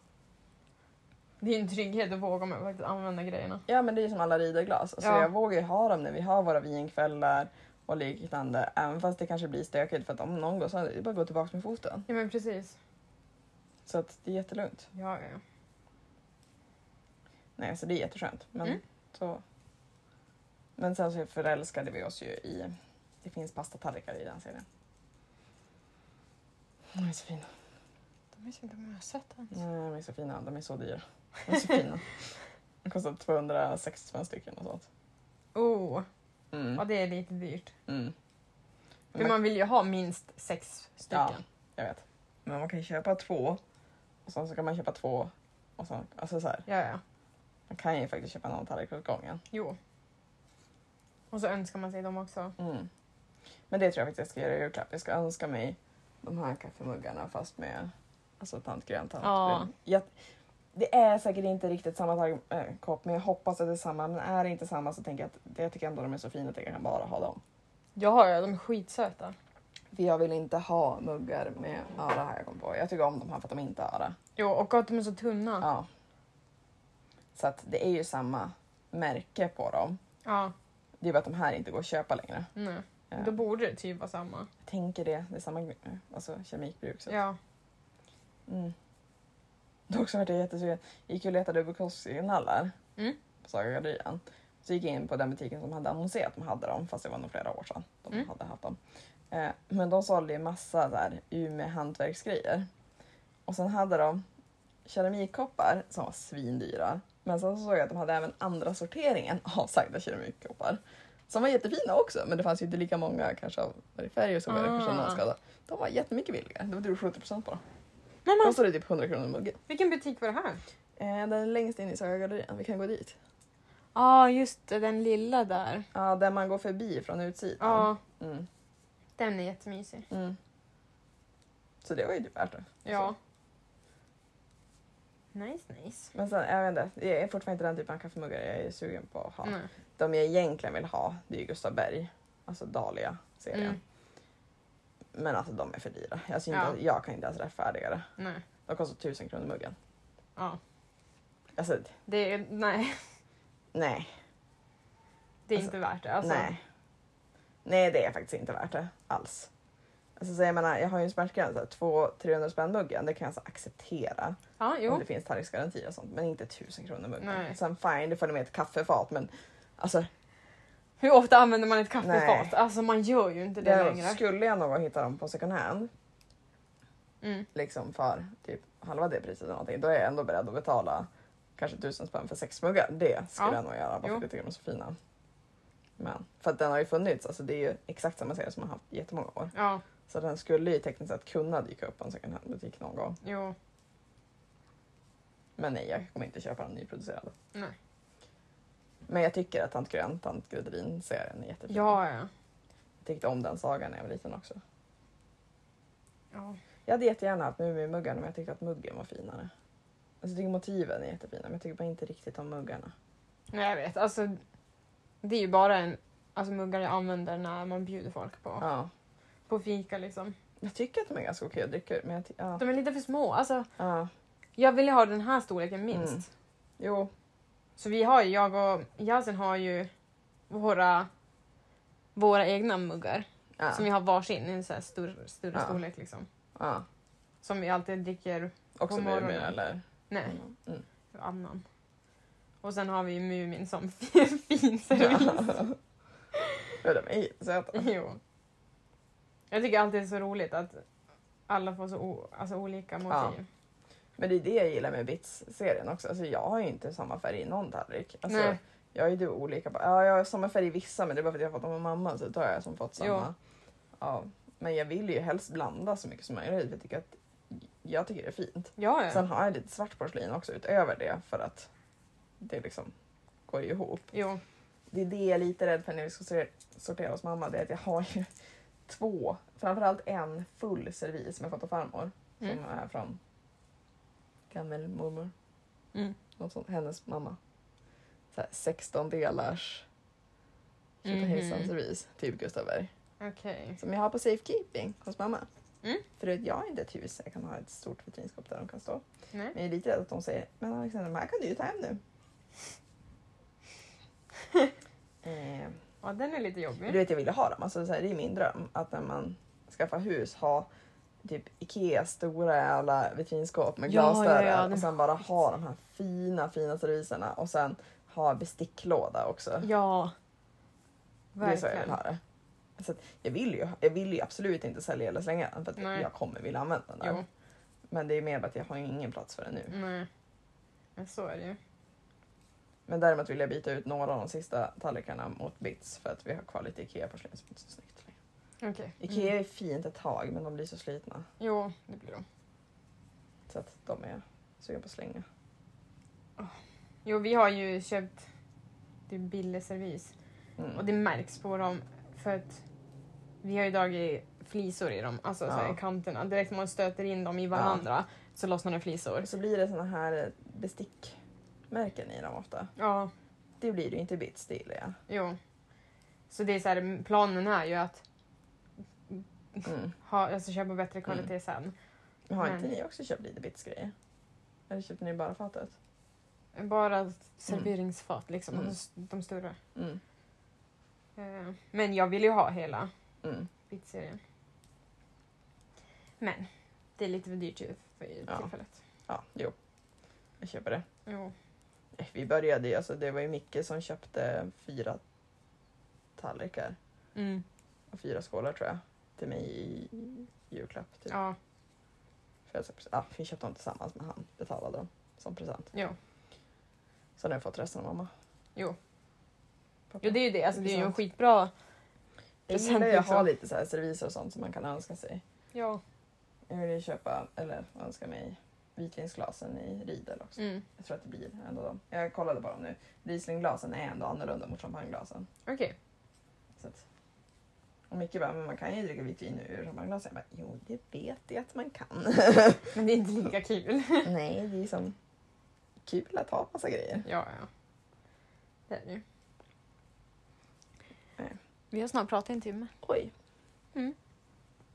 Speaker 2: Det är en trygghet att våga med att faktiskt använda grejerna.
Speaker 1: ja men det är ju som alla riderglas. Alltså,
Speaker 2: Ja.
Speaker 1: Jag vågar ju ha dem när vi har våra vinkvällar och liknande även fast det kanske blir stökigt för att om någon går sönder det är bara att gå tillbaka med foten.
Speaker 2: Ja men precis.
Speaker 1: Så att det är jättelugnt.
Speaker 2: Ja, ja.
Speaker 1: Nej, så det är jätteskönt. Men,
Speaker 2: Mm.
Speaker 1: så. men sen så förälskade vi oss ju i... Det finns pastatallrikar i den serien. De är så fina.
Speaker 2: De vet inte om jag har sett ens.
Speaker 1: Nej, de är så fina. De är så dyra. De är så
Speaker 2: [laughs]
Speaker 1: fina. De kostar 260 spänn stycken och sånt.
Speaker 2: Oh, ja
Speaker 1: Mm.
Speaker 2: det är lite dyrt.
Speaker 1: Mm.
Speaker 2: För man vill ju ha minst sex stycken.
Speaker 1: Ja, jag vet. Men man kan ju köpa två och sen så kan man köpa två och sen, alltså så här.
Speaker 2: ja, ja.
Speaker 1: Man kan ju faktiskt köpa en tallrik åt gången.
Speaker 2: Jo. Och så önskar man sig dem också.
Speaker 1: Mm. Men det tror jag faktiskt jag ska göra i julklapp. Jag ska önska mig de här kaffemuggarna fast med alltså, tantgrön, tantbrun. Jag, det är säkert inte riktigt samma tag, äh, kopp men jag hoppas att det är samma. Men är det inte samma så tänker jag att det, jag tycker ändå de är så fina att jag kan bara ha dem.
Speaker 2: Ja, ja, de är skitsöta.
Speaker 1: För jag vill inte ha muggar med öra här jag kom på. Jag tycker om de här för att de inte har öra.
Speaker 2: Jo, och att de är så tunna. Ja.
Speaker 1: Ja. Så att det är ju samma märke på dem. Det är bara att de här inte går att köpa längre.
Speaker 2: nej.
Speaker 1: Ja.
Speaker 2: Då borde det typ vara samma.
Speaker 1: Jag tänker det. Det är samma eh, alltså, keramikbruk. Så att-
Speaker 2: Ja.
Speaker 1: Mm. Dock så vart jag jättesugen. Jag gick ju och letade Bukowski-nallar
Speaker 2: Mm.
Speaker 1: på Sagagallerian. Så gick jag in på den butiken som hade annonserat att de hade dem, fast det var nog flera år sedan de
Speaker 2: Mm.
Speaker 1: hade haft dem. Eh, men de sålde ju massa där Umeå hantverksgrejer. Och sen hade de keramikkoppar som var svindyra. Men sen så såg jag att de hade även andra sorteringen [laughs] av sagda keramikkoppar. Som var jättefina också, men det fanns ju inte lika många kanske av varje färg och så var det kanske
Speaker 2: Ah.
Speaker 1: någon skada. De var jättemycket billigare. Det var typ 70 på dem.
Speaker 2: Nej, men,
Speaker 1: Kostade typ 100 kronor muggen.
Speaker 2: vilken butik var det här?
Speaker 1: Eh, den är längst in i Sagagallerian, vi kan gå dit.
Speaker 2: Ja, just det, den lilla där.
Speaker 1: Ja, där man går förbi från
Speaker 2: Ja,
Speaker 1: utsidan. Mm.
Speaker 2: den är jättemysig.
Speaker 1: Mm. Så det var ju typ värt det. Alltså,
Speaker 2: Ja. Nice, nice.
Speaker 1: Men sen, jag vet inte, jag är fortfarande inte den typen av kaffemuggar jag är sugen på att ha.
Speaker 2: Nej.
Speaker 1: De jag egentligen vill ha, det är ju Gustav Berg, alltså Dahlia-serien.
Speaker 2: Mm.
Speaker 1: Men alltså de är för dyra. Jag, syns
Speaker 2: Ja.
Speaker 1: inte, jag kan inte ens rättfärdiga det.
Speaker 2: Nej.
Speaker 1: De kostar tusen kronor muggen.
Speaker 2: Ja.
Speaker 1: Alltså,
Speaker 2: Det är, nej,
Speaker 1: nej,
Speaker 2: det är
Speaker 1: Alltså,
Speaker 2: inte värt det. Alltså.
Speaker 1: nej. Nej, det är faktiskt inte värt det alls. Alltså, så jag menar, jag har ju en smärtgräns, så här, 200-300 spänn muggen, det kan jag så acceptera.
Speaker 2: Ja,
Speaker 1: Om
Speaker 2: jo.
Speaker 1: det finns tariffsgaranti och sånt, men inte tusen kronor muggen.
Speaker 2: Nej.
Speaker 1: Sen fine, du följer med ett kaffefat, men alltså,
Speaker 2: Hur ofta använder man ett kaffefat?
Speaker 1: Nej.
Speaker 2: Alltså man gör ju inte det
Speaker 1: det
Speaker 2: längre.
Speaker 1: skulle jag nog hitta dem på second hand,
Speaker 2: Mm.
Speaker 1: liksom för typ halva det priset eller någonting, då är jag ändå beredd att betala kanske tusen spänn för sex muggar. Det skulle
Speaker 2: Ja.
Speaker 1: jag nog göra bara för
Speaker 2: Jo.
Speaker 1: att jag tycker de är så fina. Men för att den har ju funnits, alltså det är ju exakt samma serie som har haft i jättemånga år.
Speaker 2: Ja,
Speaker 1: Så den skulle ju tekniskt sett kunna dyka upp på en second hand-butik någon gång.
Speaker 2: jo.
Speaker 1: Men nej, jag kommer inte köpa den nyproducerade.
Speaker 2: Nej.
Speaker 1: Men jag tycker att Tant Grön, Tant Gudrun-serien är jättefin.
Speaker 2: Ja, ja.
Speaker 1: Jag tyckte om den sagan när jag var liten också.
Speaker 2: ja.
Speaker 1: Jag hade jättegärna haft Mumimuggarna men jag tyckte att muggen var finare. Alltså, jag tycker motiven är jättefina men jag tycker bara inte riktigt om muggarna.
Speaker 2: Nej, jag vet. Alltså, det är ju bara en alltså, muggar jag använder när man bjuder folk på,
Speaker 1: Ja.
Speaker 2: på fika. Liksom.
Speaker 1: Jag tycker att de är ganska okej att dricka ur men jag ty- ja.
Speaker 2: De är lite för små. Alltså,
Speaker 1: ja.
Speaker 2: jag ville ha den här storleken minst.
Speaker 1: Mm. Jo,
Speaker 2: Så vi har ju, jag och Yasin har ju våra, våra egna muggar
Speaker 1: ja.
Speaker 2: som vi har varsin i en sån här stor, större
Speaker 1: Ja.
Speaker 2: storlek. Liksom.
Speaker 1: ja.
Speaker 2: Som vi alltid dricker,
Speaker 1: Också
Speaker 2: På
Speaker 1: Mumin
Speaker 2: morgonen.
Speaker 1: eller?
Speaker 2: nej, [laughs]
Speaker 1: Mm.
Speaker 2: annan. Och sen har vi Mumin som [laughs] fin servis.
Speaker 1: [laughs] Ja, de är
Speaker 2: [laughs]
Speaker 1: jättesöta.
Speaker 2: Jo. Jag tycker alltid det är så roligt att alla får så o, alltså olika motiv.
Speaker 1: Men det är det jag gillar med Bits-serien också. Alltså, jag har ju inte samma färg i någon tallrik. Alltså,
Speaker 2: Nej.
Speaker 1: Jag är ju typ olika. på- Ja, jag har samma färg i vissa men det är bara för att jag har fått dem av mamma så då har jag som fått
Speaker 2: Jo.
Speaker 1: samma. Ja. Men jag vill ju helst blanda så mycket som möjligt. Jag tycker, att, jag tycker det är fint.
Speaker 2: Ja, ja.
Speaker 1: Sen har jag lite svart porslin också utöver det för att det liksom går ju ihop.
Speaker 2: Jo.
Speaker 1: Det är det jag är lite rädd för när vi ska sortera- sortera hos mamma. Det är att jag har ju [laughs] två, framförallt en full servis som jag fått av farmor.
Speaker 2: Mm.
Speaker 1: Som är från gammelmormor.
Speaker 2: Mm.
Speaker 1: Något sånt, hennes mamma. Så här 16 delars
Speaker 2: Mhm.
Speaker 1: tjotahejsan servis. Typ Gustav Berg.
Speaker 2: Okej.
Speaker 1: Som jag har på safekeeping hos mamma.
Speaker 2: Mm.
Speaker 1: För att jag har inte ett hus, jag kan ha ett stort vitrinskåp där de kan stå.
Speaker 2: Nej.
Speaker 1: Men jag är lite rädd att de säger men Alexander, de här kan du ju ta hem
Speaker 2: [laughs]
Speaker 1: nu. eh,
Speaker 2: Ja, den är lite
Speaker 1: men
Speaker 2: jobbig.
Speaker 1: du vet jag ville ha dem, alltså, så här, det är min dröm att när man skaffar hus ha typ Ikea stora jävla vitrinskåp med
Speaker 2: Ja, ja,
Speaker 1: glasdörrar
Speaker 2: ja, den-
Speaker 1: och sen bara ha de här fina fina serviserna och sen ha besticklåda också.
Speaker 2: Ja.
Speaker 1: det är så jag vill
Speaker 2: Verkligen.
Speaker 1: ha det. Så att jag, vill ju, jag vill ju absolut inte sälja eller slänga den för att
Speaker 2: Nej.
Speaker 1: jag kommer vilja använda den.
Speaker 2: Jo. Mm.
Speaker 1: Där. Men det är mer bara att jag har ingen plats för den nu.
Speaker 2: Nej. Men så är det ju.
Speaker 1: Men däremot vill jag byta ut några av de sista tallrikarna mot bits för att vi har kvar lite Ikea-porslin som inte är så snyggt längre.
Speaker 2: Okej.
Speaker 1: Ikea
Speaker 2: Mm.
Speaker 1: är fint ett tag men de blir så slitna
Speaker 2: Jo, det blir de.
Speaker 1: så att de är sugen på att slänga.
Speaker 2: Jo, vi har ju köpt det är billig servis
Speaker 1: Mm.
Speaker 2: och det märks på dem för att vi har ju dragit flisor i dem, alltså så här,
Speaker 1: Ja.
Speaker 2: i kanterna. Direkt när man stöter in dem i varandra så lossnar det flisor.
Speaker 1: Och så blir det såna här eh, bestickmärken i dem ofta.
Speaker 2: Ja,
Speaker 1: Det blir det ju inte i bits, det gillar jag.
Speaker 2: jo. Så det är så här, planen är ju att
Speaker 1: Mm.
Speaker 2: ha, alltså, köpa bättre kvalitet sen.
Speaker 1: Men har
Speaker 2: Men-
Speaker 1: inte ni också köpt lite bits-grejer? Eller köpte ni bara fatet?
Speaker 2: Bara serveringsfat liksom,
Speaker 1: Mm.
Speaker 2: de, de större.
Speaker 1: Mm.
Speaker 2: Eh, Men jag vill ju ha hela
Speaker 1: Mm.
Speaker 2: bitserien. Men det är lite för dyrt ju för
Speaker 1: Ja.
Speaker 2: tillfället.
Speaker 1: Ja, jo. Jag köper det.
Speaker 2: Jo.
Speaker 1: Eh, Vi började ju, alltså det var ju Micke som köpte fyra tallrikar
Speaker 2: Mm.
Speaker 1: och fyra skålar tror jag till mig i julklapp. Typ.
Speaker 2: Ja,
Speaker 1: födelsedagspresent. Ja, vi köpte dem tillsammans men han betalade dem som present.
Speaker 2: jo.
Speaker 1: Så nu har jag fått resten av mamma.
Speaker 2: Jo.
Speaker 1: Pappa.
Speaker 2: jo, det är ju det. Alltså, det är ju en
Speaker 1: Intressant.
Speaker 2: skitbra...
Speaker 1: jag
Speaker 2: present,
Speaker 1: gillar ju att ha
Speaker 2: liksom.
Speaker 1: lite så här serviser och sånt som man kan önska sig.
Speaker 2: Ja.
Speaker 1: Jag ville ju köpa, eller önska mig, vitvinsglasen i Riedel också.
Speaker 2: Mm.
Speaker 1: Jag tror att det blir en av dem. Jag kollade bara nu. Rieslingglasen är ändå annorlunda mot champagneglasen.
Speaker 2: Okej.
Speaker 1: Så att, och Micke bara, men man kan ju dricka vitt vin ur champagneglas. Jag bara, jo det vet jag att man kan. [laughs]
Speaker 2: Men det är inte lika [laughs] kul.
Speaker 1: Nej, det är som kul att ha massa grejer.
Speaker 2: Ja, ja. Det är det ju.
Speaker 1: Nej.
Speaker 2: Vi har snart pratat i en timme.
Speaker 1: Oj.
Speaker 2: Mm.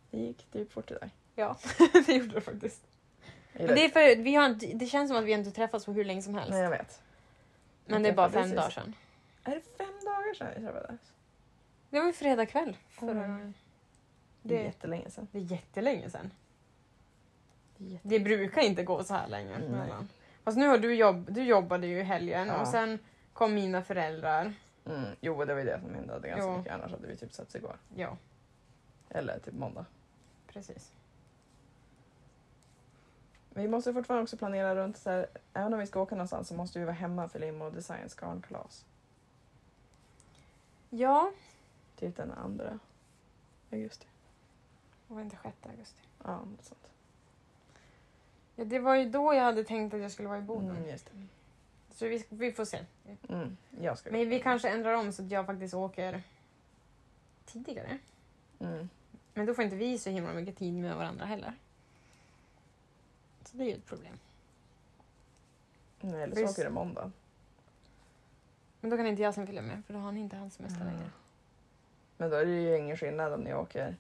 Speaker 1: Det gick typ fort idag.
Speaker 2: Ja, [laughs] det gjorde det faktiskt.
Speaker 1: Jag gillar
Speaker 2: Men det, är för, vi har inte, det känns som att vi inte träffats på hur länge som helst.
Speaker 1: Nej, jag vet.
Speaker 2: Men det är bara fem
Speaker 1: Precis.
Speaker 2: dagar sedan.
Speaker 1: Är det fem dagar sedan vi träffades?
Speaker 2: Det var ju fredag kväll.
Speaker 1: Förra- Det är
Speaker 2: Mm. det,
Speaker 1: jättelänge sedan.
Speaker 2: det är jättelänge sedan.
Speaker 1: Det är jätte-
Speaker 2: Det brukar inte gå så här länge.
Speaker 1: Nej.
Speaker 2: mellan. Fast nu har du, jobb, du jobbade ju i helgen
Speaker 1: Ja.
Speaker 2: och sen kom mina föräldrar.
Speaker 1: Mm. Jo, det var ju det som hände. Det är ganska
Speaker 2: Jo.
Speaker 1: mycket. Annars hade vi typ setts igår.
Speaker 2: Ja,
Speaker 1: Eller typ måndag.
Speaker 2: precis.
Speaker 1: Vi måste fortfarande också planera runt så här, även om vi ska åka någonstans så måste vi vara hemma och fylla in vår Designs garnkalas.
Speaker 2: Ja.
Speaker 1: Typ den andra augusti.
Speaker 2: Det var inte 6 augusti.
Speaker 1: Ja, något sånt.
Speaker 2: Ja, det var ju då jag hade tänkt att jag skulle vara i Boden.
Speaker 1: Mm, just det.
Speaker 2: Så vi, vi får se.
Speaker 1: Mm, jag ska
Speaker 2: Men vi kanske ändrar om så att jag faktiskt åker tidigare.
Speaker 1: Mm.
Speaker 2: Men då får inte vi så himla mycket tid med varandra heller. Så det är ju ett problem.
Speaker 1: Nej, eller så
Speaker 2: Visst.
Speaker 1: åker det måndag.
Speaker 2: Men då kan inte jag sen följa med för då har han inte hans semester
Speaker 1: Mm.
Speaker 2: längre.
Speaker 1: Men då är det ju ingen skillnad om ni åker.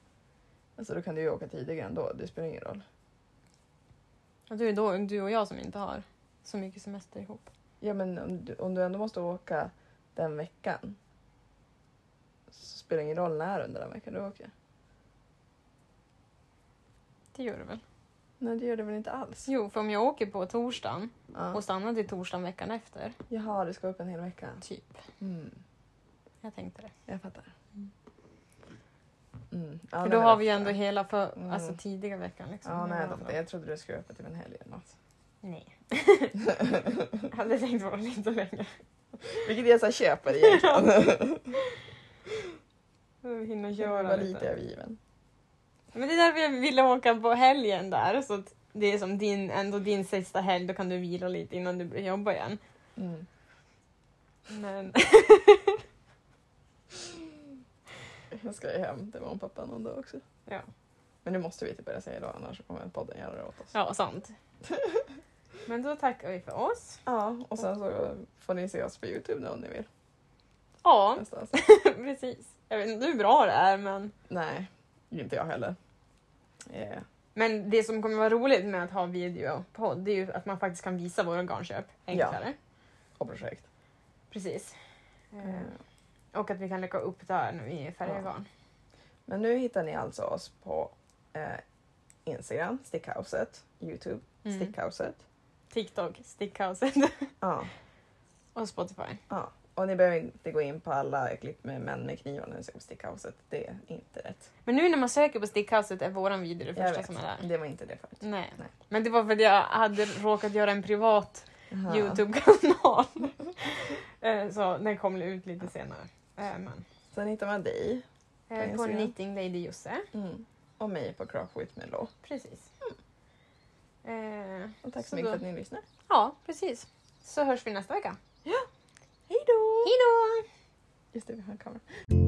Speaker 1: Alltså då kan du ju åka tidigare ändå. Det spelar ingen roll.
Speaker 2: Och då är det då du och jag som inte har så mycket semester ihop.
Speaker 1: Ja, men om du, om du ändå måste åka den veckan så spelar det ingen roll när under den veckan du åker.
Speaker 2: Det gör det väl?
Speaker 1: Nej, det gör det väl inte alls?
Speaker 2: Jo, för om jag åker på torsdagen
Speaker 1: Ja.
Speaker 2: och stannar till torsdagen veckan efter.
Speaker 1: Jaha, du ska upp en hel vecka.
Speaker 2: Typ.
Speaker 1: Mm.
Speaker 2: Jag tänkte det.
Speaker 1: Jag fattar.
Speaker 2: Mm.
Speaker 1: Mm. Ja,
Speaker 2: för
Speaker 1: nej,
Speaker 2: då
Speaker 1: men
Speaker 2: har
Speaker 1: jag
Speaker 2: vi ju ändå
Speaker 1: fattar.
Speaker 2: hela för,
Speaker 1: Mm.
Speaker 2: alltså, tidiga veckan. Liksom.
Speaker 1: Ja, nej,
Speaker 2: Hela
Speaker 1: jag,
Speaker 2: dagen.
Speaker 1: fattar. jag trodde du skulle öppna typ en helg eller
Speaker 2: [laughs]
Speaker 1: något.
Speaker 2: Nej. jag hade tänkt vara lite längre.
Speaker 1: Vilket jag så här
Speaker 2: [laughs]
Speaker 1: köper egentligen.
Speaker 2: Vi hinner
Speaker 1: Jag
Speaker 2: köra
Speaker 1: var
Speaker 2: lite.
Speaker 1: lite övergiven.
Speaker 2: Men det är därför jag ville åka på helgen där. Så att det är som din, ändå din sista helg, då kan du vila lite innan du börjar jobba igen.
Speaker 1: Mm.
Speaker 2: Men
Speaker 1: Jag ska ju hem till mamma och pappa någon dag också.
Speaker 2: ja,
Speaker 1: Men nu måste vi typ börja säga då annars kommer podden göra det åt oss.
Speaker 2: [laughs] ja sant. Men då tackar vi för oss.
Speaker 1: Ja, och sen så får ni se oss på Youtube nu om ni vill. [laughs]
Speaker 2: Ja,
Speaker 1: Nästa avsnitt.
Speaker 2: precis. Jag vet inte hur bra det är, men,
Speaker 1: Nej, inte jag heller. Eh,
Speaker 2: men det som kommer vara roligt med att ha videopodd det är ju att man faktiskt kan visa våra garnköp enklare.
Speaker 1: och projekt.
Speaker 2: Precis. Eh,
Speaker 1: Eh,
Speaker 2: Och att vi kan lägga upp där när vi färgar
Speaker 1: Ja.
Speaker 2: garn.
Speaker 1: Men nu hittar ni alltså oss på eh, Instagram, Stickhouset, Youtube,
Speaker 2: Mm.
Speaker 1: Stickhouset.
Speaker 2: TikTok, Stickhouset
Speaker 1: Ja,
Speaker 2: [laughs] och Spotify.
Speaker 1: ja. Och ni behöver inte gå in på alla klipp med män med knivar när ni ser på Stickhouset. Det är inte rätt.
Speaker 2: Men nu när man söker på Stickhouset är våran video det
Speaker 1: Jag
Speaker 2: första
Speaker 1: vet.
Speaker 2: som är där. Mm.
Speaker 1: Det var inte det förut.
Speaker 2: Nej.
Speaker 1: Nej.
Speaker 2: Men det var för att jag hade råkat göra en privat
Speaker 1: Aha.
Speaker 2: Youtube-kanal. [laughs] Eh, så den kom ut lite senare. Eh, men.
Speaker 1: Sen hittar man dig
Speaker 2: Eh, På
Speaker 1: Instagram.
Speaker 2: Knitting Lady Josse.
Speaker 1: Mm. och mig på Craft with Melo.
Speaker 2: Precis. Eh,
Speaker 1: Och tack så,
Speaker 2: Så
Speaker 1: mycket
Speaker 2: då-
Speaker 1: för att ni lyssnar.
Speaker 2: ja, precis. Så hörs vi nästa vecka.
Speaker 1: Hej då!
Speaker 2: Hej då!
Speaker 1: Just det, vi har en kamera.